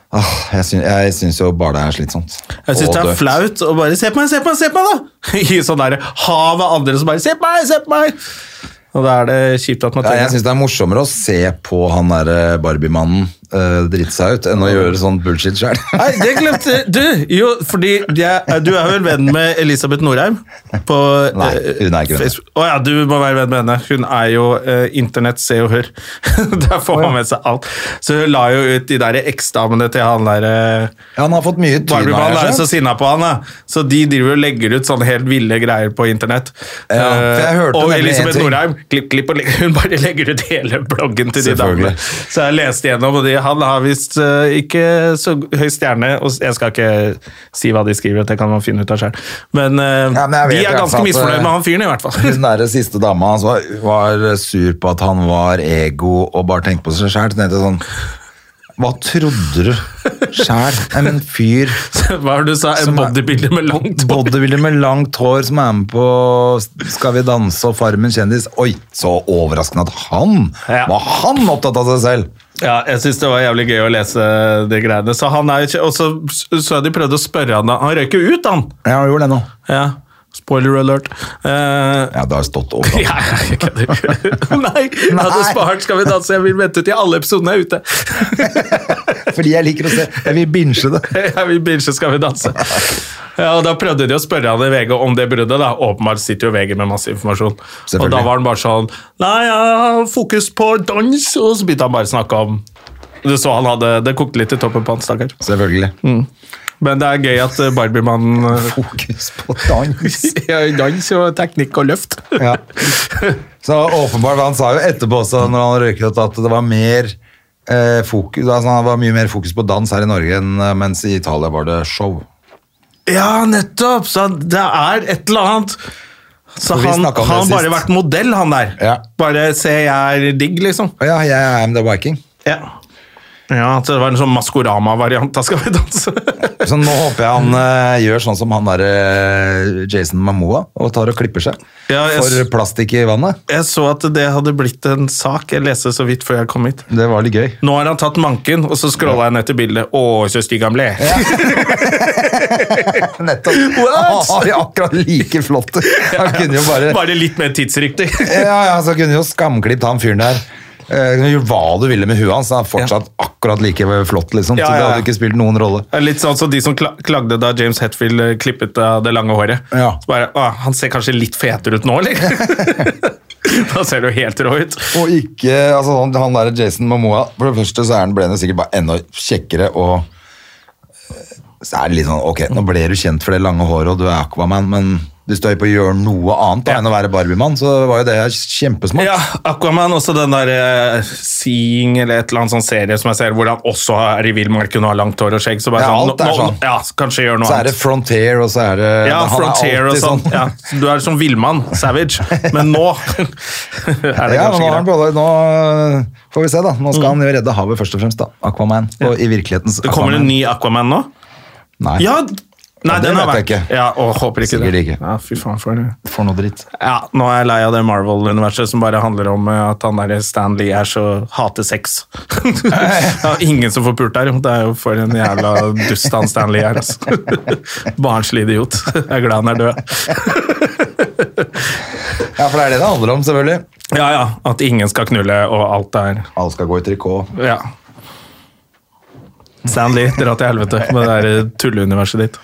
Speaker 2: ah, Jeg syns, jeg syns jo bare det er slitsomt.
Speaker 1: Jeg syns
Speaker 2: Og
Speaker 1: det er
Speaker 2: døvt.
Speaker 1: flaut å bare Se på meg, se på meg, se på meg, da! I sånn der hav av andre som bare Se på meg, se på meg! Og da er det kjipt at man
Speaker 2: Ja, jeg
Speaker 1: trenger
Speaker 2: syns det er morsommere å se på han derre Barbie-mannen eh, drite seg ut, enn å gjøre sånn bullshit sjøl.
Speaker 1: Nei, det glemte Du! Jo, fordi jeg, du er vel venn med Elisabeth Norheim? På
Speaker 2: Nei, hun er ikke venn.
Speaker 1: venn. Å ja, du må være venn med henne. Hun er jo eh, Internett, se og hør. Der får man med seg alt. Så hun la jo ut de der eksdamene til han eh, derre
Speaker 2: Han har fått mye tyn av
Speaker 1: Barbie-ballen er
Speaker 2: det,
Speaker 1: jo så
Speaker 2: skjønt.
Speaker 1: sinna på han, da. Så de driver og legger ut sånne helt ville greier på internett.
Speaker 2: Ja, for jeg
Speaker 1: Eh,
Speaker 2: hørte
Speaker 1: og
Speaker 2: nemlig en
Speaker 1: Elisabeth
Speaker 2: ting.
Speaker 1: Norheim klipp, klipp, og legg, hun bare legger ut hele bloggen til de damene.
Speaker 2: Selvfølgelig.
Speaker 1: Så jeg leste gjennom, og de, han har visst eh, ikke så høy stjerne. Og s- jeg skal ikke si hva de skriver, det kan man finne ut av sjøl. Men, eh,
Speaker 2: Ja, men jeg
Speaker 1: de er
Speaker 2: vet i hvert fall
Speaker 1: ganske
Speaker 2: at,
Speaker 1: misfornøyd
Speaker 2: eh,
Speaker 1: med han fyren, i hvert fall.
Speaker 2: Hun derre siste dama hans var, var eh, sur på at han var ego og bare tenkte på seg sjæl. Så tenkte jeg sånn Hva trodde du sjæl? Nei, men fyr
Speaker 1: Hva var det du sa? En
Speaker 2: som er-
Speaker 1: bodybuilder med langt hår.
Speaker 2: Bodybuilder med langt hår som er med på Skal vi danse og Farmen kjendis. Oi, så overraskende at han
Speaker 1: Ja.
Speaker 2: var han opptatt av seg selv!
Speaker 1: Ja, jeg synes det var jævlig gøy å lese de greiene. Så han er jo ikke, og så så jeg de prøvde å spørre han da. Han røyk jo ut, han!
Speaker 2: Ja, han gjorde det nå.
Speaker 1: Ja. Spoiler alert. Eh,
Speaker 2: Ja, det har stått over.
Speaker 1: ja, jeg kødder. Nei! Jeg hadde
Speaker 2: Nei.
Speaker 1: spart Skal vi danse. Jeg vil vente til alle episodene er ute.
Speaker 2: Fordi jeg liker å se. Jeg vil binge det.
Speaker 1: Jeg vil binge Skal vi danse. Ja, og Da prøvde de å spørre han i VG om det bruddet. da. Åpenbart sitter jo VG med masse informasjon. Og
Speaker 2: Selvfølgelig.
Speaker 1: da var han bare sånn Nei, jeg har fokus på dans. Og så begynte han bare å snakke om Du så han hadde Det kokte litt i toppen på han, stakkar.
Speaker 2: Selvfølgelig.
Speaker 1: Men det er gøy at eh, Barbie-mannen eh,
Speaker 2: Fokus på dans.
Speaker 1: ja, dans og teknikk og løft.
Speaker 2: Ja. Så åpenbart, for han sa jo etterpå også, når han røyket, at det var mer eh, fokus, altså han var mye mer fokus på dans her i Norge, enn, eh, mens i Italia var det show.
Speaker 1: Ja, nettopp! Så han- det er et eller annet. Så
Speaker 2: vi
Speaker 1: han han
Speaker 2: snakket om det
Speaker 1: har bare
Speaker 2: sist.
Speaker 1: vært modell, han der.
Speaker 2: Ja.
Speaker 1: Bare se, jeg er digg, liksom.
Speaker 2: Å ja, jeg er I'm the Viking.
Speaker 1: Ja. ja, så det var en sånn Maskorama-variant. Da skal vi danse!
Speaker 2: Så nå håper jeg han eh, gjør sånn som han der eh, Jason Momoa, og tar og klipper seg.
Speaker 1: Ja, jeg s-
Speaker 2: For plastikk i vannet.
Speaker 1: jeg så at det hadde blitt en sak. Jeg leste så vidt før jeg kom hit.
Speaker 2: Det var litt gøy.
Speaker 1: Nå har han tatt manken, og så scrolla jeg ned til bildet. Å, så stygg han ble!
Speaker 2: Nettopp. Han
Speaker 1: What?
Speaker 2: har jo akkurat like flott. Han kunne jo bare...
Speaker 1: Bare litt mer tidsriktig.
Speaker 2: Ja, ja, så kunne jo skamklipt han fyren der. Eh, kunne gjort hva du ville med huet hans, han er fortsatt akkurat like flott, liksom.
Speaker 1: Ja,
Speaker 2: Så det
Speaker 1: ja, ja.
Speaker 2: hadde ikke spilt noen rolle.
Speaker 1: Det er Litt sånn som de som kla- klagde da James Hetfield eh, klippet av det lange håret.
Speaker 2: Ja.
Speaker 1: Så bare, «Å, Han ser kanskje litt fetere ut nå, eller? da ser du helt rå ut.
Speaker 2: Og ikke, altså han, han der Jason Momoa, for det første så er han, ble han jo sikkert bare enda kjekkere, og eh, så er det litt sånn, ok, nå ble du kjent for det lange håret, og du er Aquaman, men du står jo på å gjøre noe annet da,
Speaker 1: Ja.
Speaker 2: enn å være Barbie-mann, så var jo det kjempesmart.
Speaker 1: Ja, Aquaman, også den der eh, Seeing eller et eller annet sånn serie som jeg ser, hvor han også er i villmarken og har langt hår og skjegg. Så bare
Speaker 2: Ja,
Speaker 1: sånn,
Speaker 2: alt er
Speaker 1: nå,
Speaker 2: sånn.
Speaker 1: nå, ja, Kanskje gjør noe
Speaker 2: Så er det
Speaker 1: annet.
Speaker 2: Frontier, og så er det...
Speaker 1: Ja,
Speaker 2: han er
Speaker 1: Frontier og
Speaker 2: alltid
Speaker 1: sånn. Ja, så du er som villmann, savage, men nå er det
Speaker 2: Ja, nå,
Speaker 1: kanskje
Speaker 2: har han
Speaker 1: greit.
Speaker 2: både, nå øh, får vi se, da. Nå skal han jo redde havet, først og fremst. da. Aquaman. Og i virkelighetens
Speaker 1: Det kommer en
Speaker 2: Aquaman.
Speaker 1: ny Aquaman nå?
Speaker 2: Nei,
Speaker 1: Ja! Nei,
Speaker 2: Ja, det
Speaker 1: den har
Speaker 2: vet
Speaker 1: vært.
Speaker 2: jeg ikke.
Speaker 1: Ja, og håper ikke
Speaker 2: Sikkert
Speaker 1: det.
Speaker 2: ikke.
Speaker 1: Ja, fy faen for det.
Speaker 2: for noe dritt.
Speaker 1: Ja, nå er jeg lei av det Marvel-universet som bare handler om eh, at han der Stan Lee er så hater sex. ja, ingen som får pult der, jo. Det er jo for en jævla dust han Stan Lee er. Altså. Barnslig idiot. Jeg er glad han er død.
Speaker 2: Ja, for det er det det handler om, selvfølgelig.
Speaker 1: Ja, ja. At ingen skal knulle, og alt er
Speaker 2: Alle skal gå i trikot.
Speaker 1: Ja. Stanley, dra til helvete med det der tulleuniverset ditt.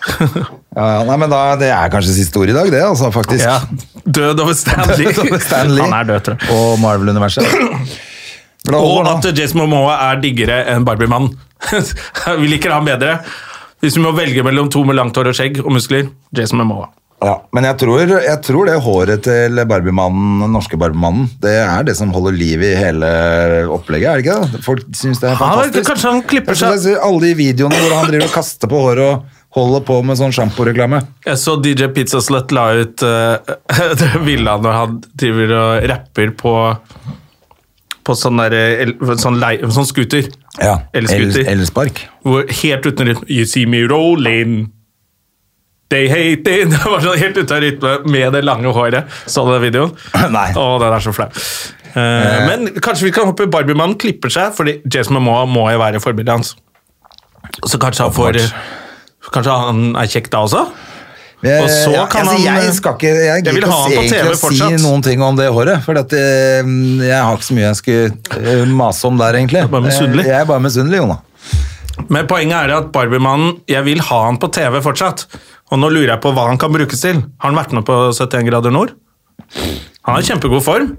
Speaker 2: Ja, ja, nei, men da, Det er kanskje siste ord i dag, det, altså, faktisk.
Speaker 1: Ja. Død over Stanley.
Speaker 2: Stanley
Speaker 1: Han er død, tror jeg.
Speaker 2: og Marvel-universet. For da
Speaker 1: Og
Speaker 2: holder
Speaker 1: at
Speaker 2: nå.
Speaker 1: Jason Momoa er diggere enn Barbie-mann. vi liker han bedre. Hvis vi må velge mellom to med langt hår og skjegg og muskler, Jason Momoa.
Speaker 2: ja, men jeg tror, jeg tror det håret til Barbie-mannen, den norske Barbie-mannen, det er det som holder liv i hele opplegget, er det ikke det? Folk syns det er
Speaker 1: Han er-
Speaker 2: fantastisk.
Speaker 1: kanskje han klipper
Speaker 2: Jeg synes
Speaker 1: seg-
Speaker 2: jeg ser Alle de videoene hvor han driver og kaster på håret og holder på med sånn sjamporeklame.
Speaker 1: Jeg så DJ Pizza Slut la ut uh, det bildet når han driver og rapper på på sånn, der, eh, el, sånn, lei, sånn scooter.
Speaker 2: Ja.
Speaker 1: Elskuter.
Speaker 2: el- Elspark.
Speaker 1: Hvor, helt uten rytme. You see me rolling. They hate it. Det var sånn helt ute av rytme med det lange håret. Så du den videoen?
Speaker 2: Nei.
Speaker 1: Å, den er så flau. Eh, men kanskje vi kan håpe Barbie-mannen klipper seg, fordi Jason Momoa må jo være forbildet hans. Så kanskje han får
Speaker 2: Åpenbart.
Speaker 1: Kanskje han er kjekk da også?
Speaker 2: Jeg,
Speaker 1: Og så
Speaker 2: ja,
Speaker 1: kan
Speaker 2: altså,
Speaker 1: han-
Speaker 2: jeg skal ikke Jeg,
Speaker 1: Jeg vil
Speaker 2: gidder
Speaker 1: ha han på
Speaker 2: ikke
Speaker 1: TV
Speaker 2: å
Speaker 1: fortsatt.
Speaker 2: si noen ting om det håret, for at, eh, jeg har ikke så mye jeg skulle eh, mase om der, egentlig.
Speaker 1: er bare misunnelig.
Speaker 2: Eh, Jeg er bare misunnelig, Jona.
Speaker 1: Men poenget er at Barbie-mannen Jeg vil ha han på TV fortsatt. Og nå lurer jeg på hva han kan brukes til. Har han vært med på 71 grader nord? Han er i kjempegod form.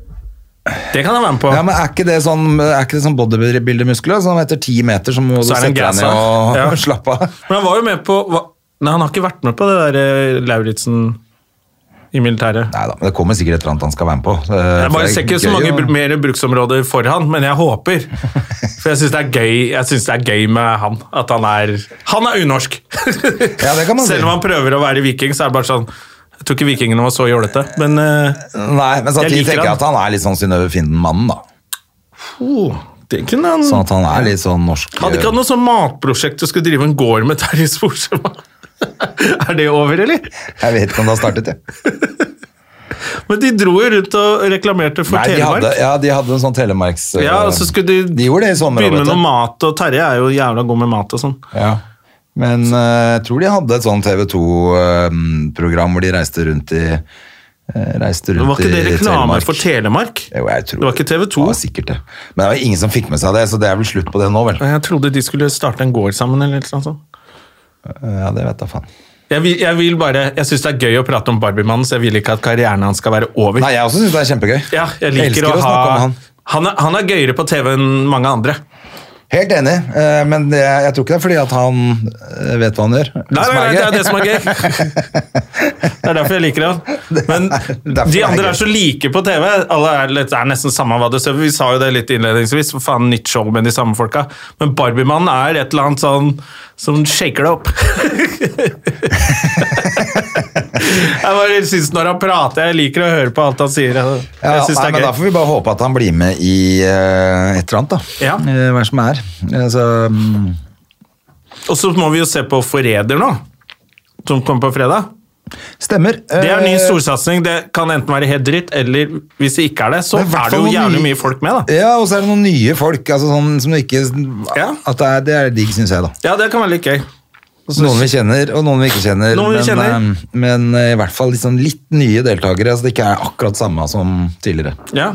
Speaker 1: Det kan han være med på.
Speaker 2: Ja, men er ikke det sånn, er ikke det sånn bodybuilder-muskler som etter ti meter så må du
Speaker 1: Så er
Speaker 2: sette
Speaker 1: det en
Speaker 2: deg ned
Speaker 1: gassa.
Speaker 2: og
Speaker 1: Ja.
Speaker 2: slappe av?
Speaker 1: Men han var jo med på hva? Nei, han har ikke vært med på det der eh, Lauritzen i militæret.
Speaker 2: Nei da, men det kommer sikkert et eller annet han skal være med på. Eh,
Speaker 1: Jeg
Speaker 2: for
Speaker 1: bare
Speaker 2: det er
Speaker 1: ser ikke så
Speaker 2: gøy
Speaker 1: mange
Speaker 2: å-
Speaker 1: br- mer bruksområder for han, men jeg håper. For jeg syns det, er gøy- jeg synes det er gøy med han. At han er Han er unorsk!
Speaker 2: Ja, det kan man si.
Speaker 1: Selv om han prøver å være viking, så er det bare sånn Jeg tror ikke vikingene var så jålete, men eh,
Speaker 2: Nei, men
Speaker 1: Jeg
Speaker 2: samtidig
Speaker 1: liker
Speaker 2: tenker jeg at han er litt sånn Synnøve Finden-mannen, da.
Speaker 1: oh, det kunne han
Speaker 2: Sånn at han er litt sånn norsk
Speaker 1: Hadde ikke hatt noe sånn matprosjekt du skulle drive en gård med Terje Sporsem? er det over, eller?
Speaker 2: eh, Jeg vet ikke om det har startet, jeg.
Speaker 1: Men de dro jo rundt og reklamerte for
Speaker 2: Nei, de
Speaker 1: Telemark.
Speaker 2: hadde, ja, de hadde en sånn telemarks... eh,
Speaker 1: Ja, og så skulle de,
Speaker 2: De gjorde det i sommer,
Speaker 1: begynne
Speaker 2: vet
Speaker 1: med
Speaker 2: du.
Speaker 1: noe mat, og Terje er jo jævla god med mat og sånn.
Speaker 2: Ja. Men eh, jeg tror de hadde et sånn TV 2-program hvor de reiste rundt i eh, Reiste rundt
Speaker 1: Men Var ikke det
Speaker 2: i
Speaker 1: reklame
Speaker 2: Telemark.
Speaker 1: for Telemark?
Speaker 2: Jo, jeg tror
Speaker 1: Det var ikke TV 2?
Speaker 2: Det var sikkert det. Men det var ingen som fikk med seg det, så det er vel slutt på det nå, vel?
Speaker 1: Jeg trodde de skulle starte en gård sammen, eller noe sånt.
Speaker 2: Ja, det vet jeg faen.
Speaker 1: Jeg, vil, jeg vil bare, jeg syns det er gøy å prate om Barbie-mannen, så jeg vil ikke at karrieren hans skal være over.
Speaker 2: Nei, jeg også syns det er kjempegøy.
Speaker 1: Ja, jeg liker
Speaker 2: elsker
Speaker 1: å, ha
Speaker 2: snakke om
Speaker 1: han.
Speaker 2: han.
Speaker 1: er, han er gøyere på TV enn mange andre.
Speaker 2: Helt enig, eh, men det, jeg tror ikke det er fordi at han eh, vet hva han gjør.
Speaker 1: Nei,
Speaker 2: som
Speaker 1: nei, nei, det er det som er gøy.
Speaker 2: gøy.
Speaker 1: Det er derfor jeg liker han. Men
Speaker 2: derfor det
Speaker 1: de
Speaker 2: er
Speaker 1: andre
Speaker 2: gøy.
Speaker 1: er så like på TV. Alle er, litt, er nesten samme hva du ser. Vi sa jo det litt innledningsvis. For faen, nytt show med de samme folka. Men Barbie-mannen er et eller annet sånn som shaker det opp. jeg bare synes når han prater, jeg liker å høre på alt han sier. Jeg,
Speaker 2: Ja,
Speaker 1: jeg synes
Speaker 2: nei, men
Speaker 1: det er
Speaker 2: Da
Speaker 1: gøy.
Speaker 2: får vi bare håpe at han blir med i eh, et eller annet, da.
Speaker 1: Ja.
Speaker 2: Eh, hva som er. Eh, så, mm,
Speaker 1: Og så må vi jo se på Forræder nå, som kommer på fredag.
Speaker 2: stemmer.
Speaker 1: Det er en ny
Speaker 2: Eh,
Speaker 1: storsatsing. Det kan enten være helt dritt, eller hvis det ikke er det, så
Speaker 2: Det er i hvert
Speaker 1: er det jo
Speaker 2: fall noen
Speaker 1: jævlig
Speaker 2: nye-
Speaker 1: mye folk med, da.
Speaker 2: Ja, og så er det noen nye folk. Altså sånn som du ikke
Speaker 1: Ja.
Speaker 2: At det er, det er digg, syns jeg, da.
Speaker 1: Ja, det kan være litt gøy.
Speaker 2: Noen vi kjenner, og noen vi ikke kjenner.
Speaker 1: Noen vi
Speaker 2: men,
Speaker 1: kjenner.
Speaker 2: eh, men eh, i hvert fall litt sånn litt nye deltakere, så det ikke er akkurat samme som tidligere.
Speaker 1: Ja.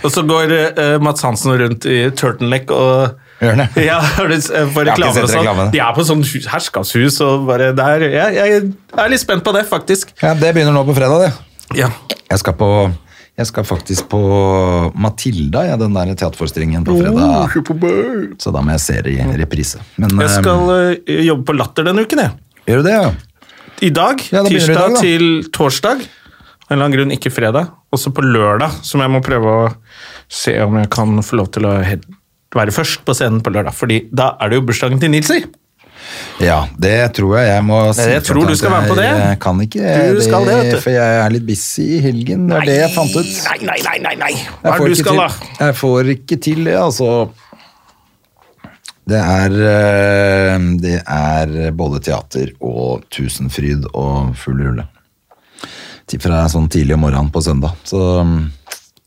Speaker 1: Og så går eh, Mats Hansen rundt i turtleneck og
Speaker 2: Gjør han det?
Speaker 1: Ja, har du s- eh, for
Speaker 2: Jeg har ikke
Speaker 1: reklame og
Speaker 2: sett
Speaker 1: sånn.
Speaker 2: reklamen.
Speaker 1: De er på sånn hu- herskapshus og bare der. Jeg, jeg er litt spent på det, faktisk.
Speaker 2: Ja, Det begynner nå på fredag, det.
Speaker 1: Ja.
Speaker 2: Jeg skal, på, jeg skal faktisk på Matilda, ja, den der teaterforestillingen på fredag. Så da må jeg se det i reprise. Men
Speaker 1: Jeg
Speaker 2: eh,
Speaker 1: skal eh, jobbe på Latter denne uken, jeg.
Speaker 2: gjør du det, ja?
Speaker 1: I dag.
Speaker 2: Ja, da begynner du i
Speaker 1: tirsdag
Speaker 2: dag, da.
Speaker 1: til torsdag. Av en eller annen grunn ikke fredag. Også på lørdag, som jeg må prøve å se om jeg kan få lov til å he- være først på scenen på lørdag. Fordi da er det jo bursdagen til Nils i.
Speaker 2: Ja, det tror jeg jeg må si.
Speaker 1: jeg tror
Speaker 2: at
Speaker 1: du skal være med på det.
Speaker 2: Jeg kan ikke
Speaker 1: Du skal det, vet du.
Speaker 2: for jeg er litt busy i helgen. Det er det jeg fant ut.
Speaker 1: Nei, nei, nei, nei, nei. Hva er
Speaker 2: Jeg får,
Speaker 1: det du
Speaker 2: ikke
Speaker 1: skal, da?
Speaker 2: til, jeg får ikke til det, altså. Det er, eh, det er både teater og Tusenfryd og full rulle. Til- Fra sånn tidlig om morgenen på søndag. Så mm,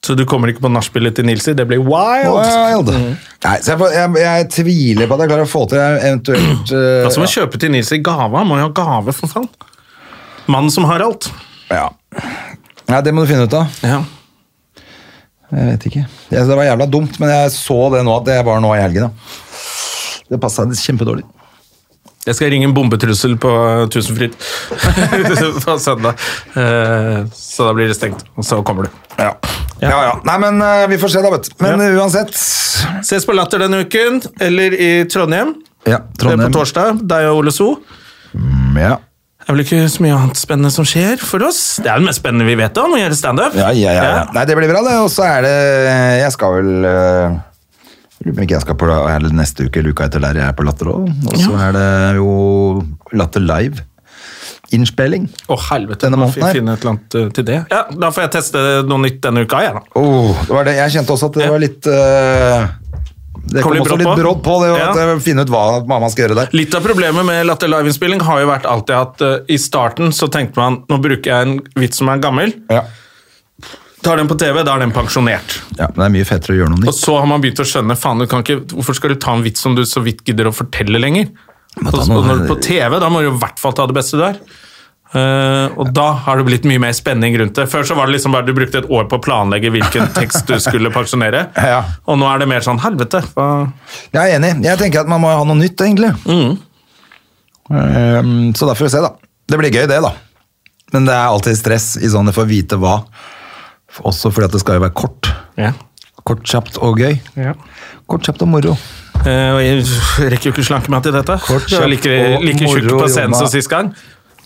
Speaker 1: Så du kommer ikke på nachspielet til Nilsi? Det blir wild!
Speaker 2: wild!
Speaker 1: Mm.
Speaker 2: Nei, så jeg, får- jeg, jeg tviler på at jeg klarer å få til jeg eventuelt eh,
Speaker 1: Hva skal man kjøpe til Nilsi? Gave? Han må jo ha gave, for faen. Mannen som har alt.
Speaker 2: ja. Nei, det må du finne ut av.
Speaker 1: Ja.
Speaker 2: Jeg vet ikke. Jeg, det var jævla dumt, men jeg så det nå at det var nå i helgen. Da. Det passa kjempedårlig.
Speaker 1: Jeg skal ringe en bombetrussel på eh, Tusenfryd på søndag. Eh, Så da blir det stengt, og så kommer du.
Speaker 2: Ja. ja, ja. Nei, men eh, vi får se, da, vet du. Men eh, uansett
Speaker 1: Ses på Latter denne uken, eller i Trondheim.
Speaker 2: Ja,
Speaker 1: Det er
Speaker 2: Trondheim.
Speaker 1: på torsdag. Deg og Ole So.
Speaker 2: Ja.
Speaker 1: Det er vel ikke så mye annet spennende som skjer for oss. Det er det mest spennende vi vet om, å gjøre standup.
Speaker 2: Ja, ja, ja, ja.
Speaker 1: Ja.
Speaker 2: Nei, det blir bra, det. Og så er det Jeg skal vel eh, jeg Lurer på om ikke jeg skal på er det neste uke eller uka etter der jeg er på Latter òg. Og så er det jo Latter Live. Innspilling.
Speaker 1: Å, helvete.
Speaker 2: Denne
Speaker 1: Denne
Speaker 2: måneden her.
Speaker 1: Finne et eller annet eh, til det. Ja, Da får jeg teste noe nytt denne uka, jeg, da.
Speaker 2: Oh, det var det. Jeg kjente også at det
Speaker 1: Ja.
Speaker 2: var litt eh, Det
Speaker 1: Kom
Speaker 2: kom,
Speaker 1: litt
Speaker 2: også
Speaker 1: brått
Speaker 2: litt
Speaker 1: på.
Speaker 2: brått på, det å
Speaker 1: Ja.
Speaker 2: at jeg finne ut hva mamma skal gjøre der.
Speaker 1: Litt av problemet med Latter Live-innspilling har jo vært alltid at eh, i starten så tenkte man nå bruker jeg en vits som er gammel.
Speaker 2: Ja.
Speaker 1: Tar den på TV, da er den pensjonert.
Speaker 2: ja, men Det er mye fetere å gjøre noe
Speaker 1: Og
Speaker 2: nytt.
Speaker 1: så har man begynt å skjønne faen, du kan ikke, hvorfor skal du ta en vits som du så vidt gidder å fortelle lenger?
Speaker 2: må
Speaker 1: Og
Speaker 2: ta
Speaker 1: og
Speaker 2: noe-
Speaker 1: når du er på TV, da må du i hvert fall ta det beste du har. Eh, og da har det blitt mye mer spenning rundt det. Før så var det liksom bare du brukte et år på å planlegge hvilken tekst du skulle pensjonere.
Speaker 2: Ja.
Speaker 1: Og nå er det mer sånn helvete. Hva?
Speaker 2: Jeg er enig. Jeg tenker at man må ha noe nytt, egentlig.
Speaker 1: Mm.
Speaker 2: Ehm, så da får vi se, da. Det blir gøy, det, da. Men det er alltid stress i sånne for å vite hva. Også fordi at det skal jo være kort.
Speaker 1: Ja.
Speaker 2: Kort, kjapt og gøy.
Speaker 1: Ja.
Speaker 2: Kort, kjapt og moro.
Speaker 1: Eh, og jeg rekker jo ikke slanke meg til dette.
Speaker 2: Kort,
Speaker 1: jeg er like,
Speaker 2: kjapp og
Speaker 1: like tjukk
Speaker 2: moro
Speaker 1: på scenen
Speaker 2: jobba.
Speaker 1: som sist gang.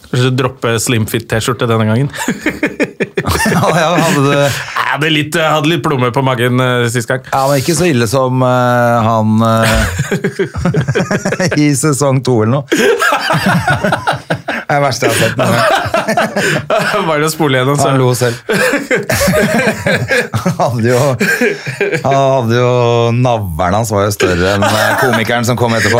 Speaker 1: Kanskje droppe slimfit-T-skjorte denne gangen.
Speaker 2: ja, ja, hadde det,
Speaker 1: Jeg hadde litt, jeg hadde litt plommer på magen eh, sist gang.
Speaker 2: ja, men ikke så ille som eh, han eh, i sesong to eller noe. det er det verste jeg har sett. noen gang.
Speaker 1: Bare å spole gjennom, så
Speaker 2: Han lo selv. han hadde jo, han hadde jo Navlen hans var jo større enn eh, komikeren som kom etterpå.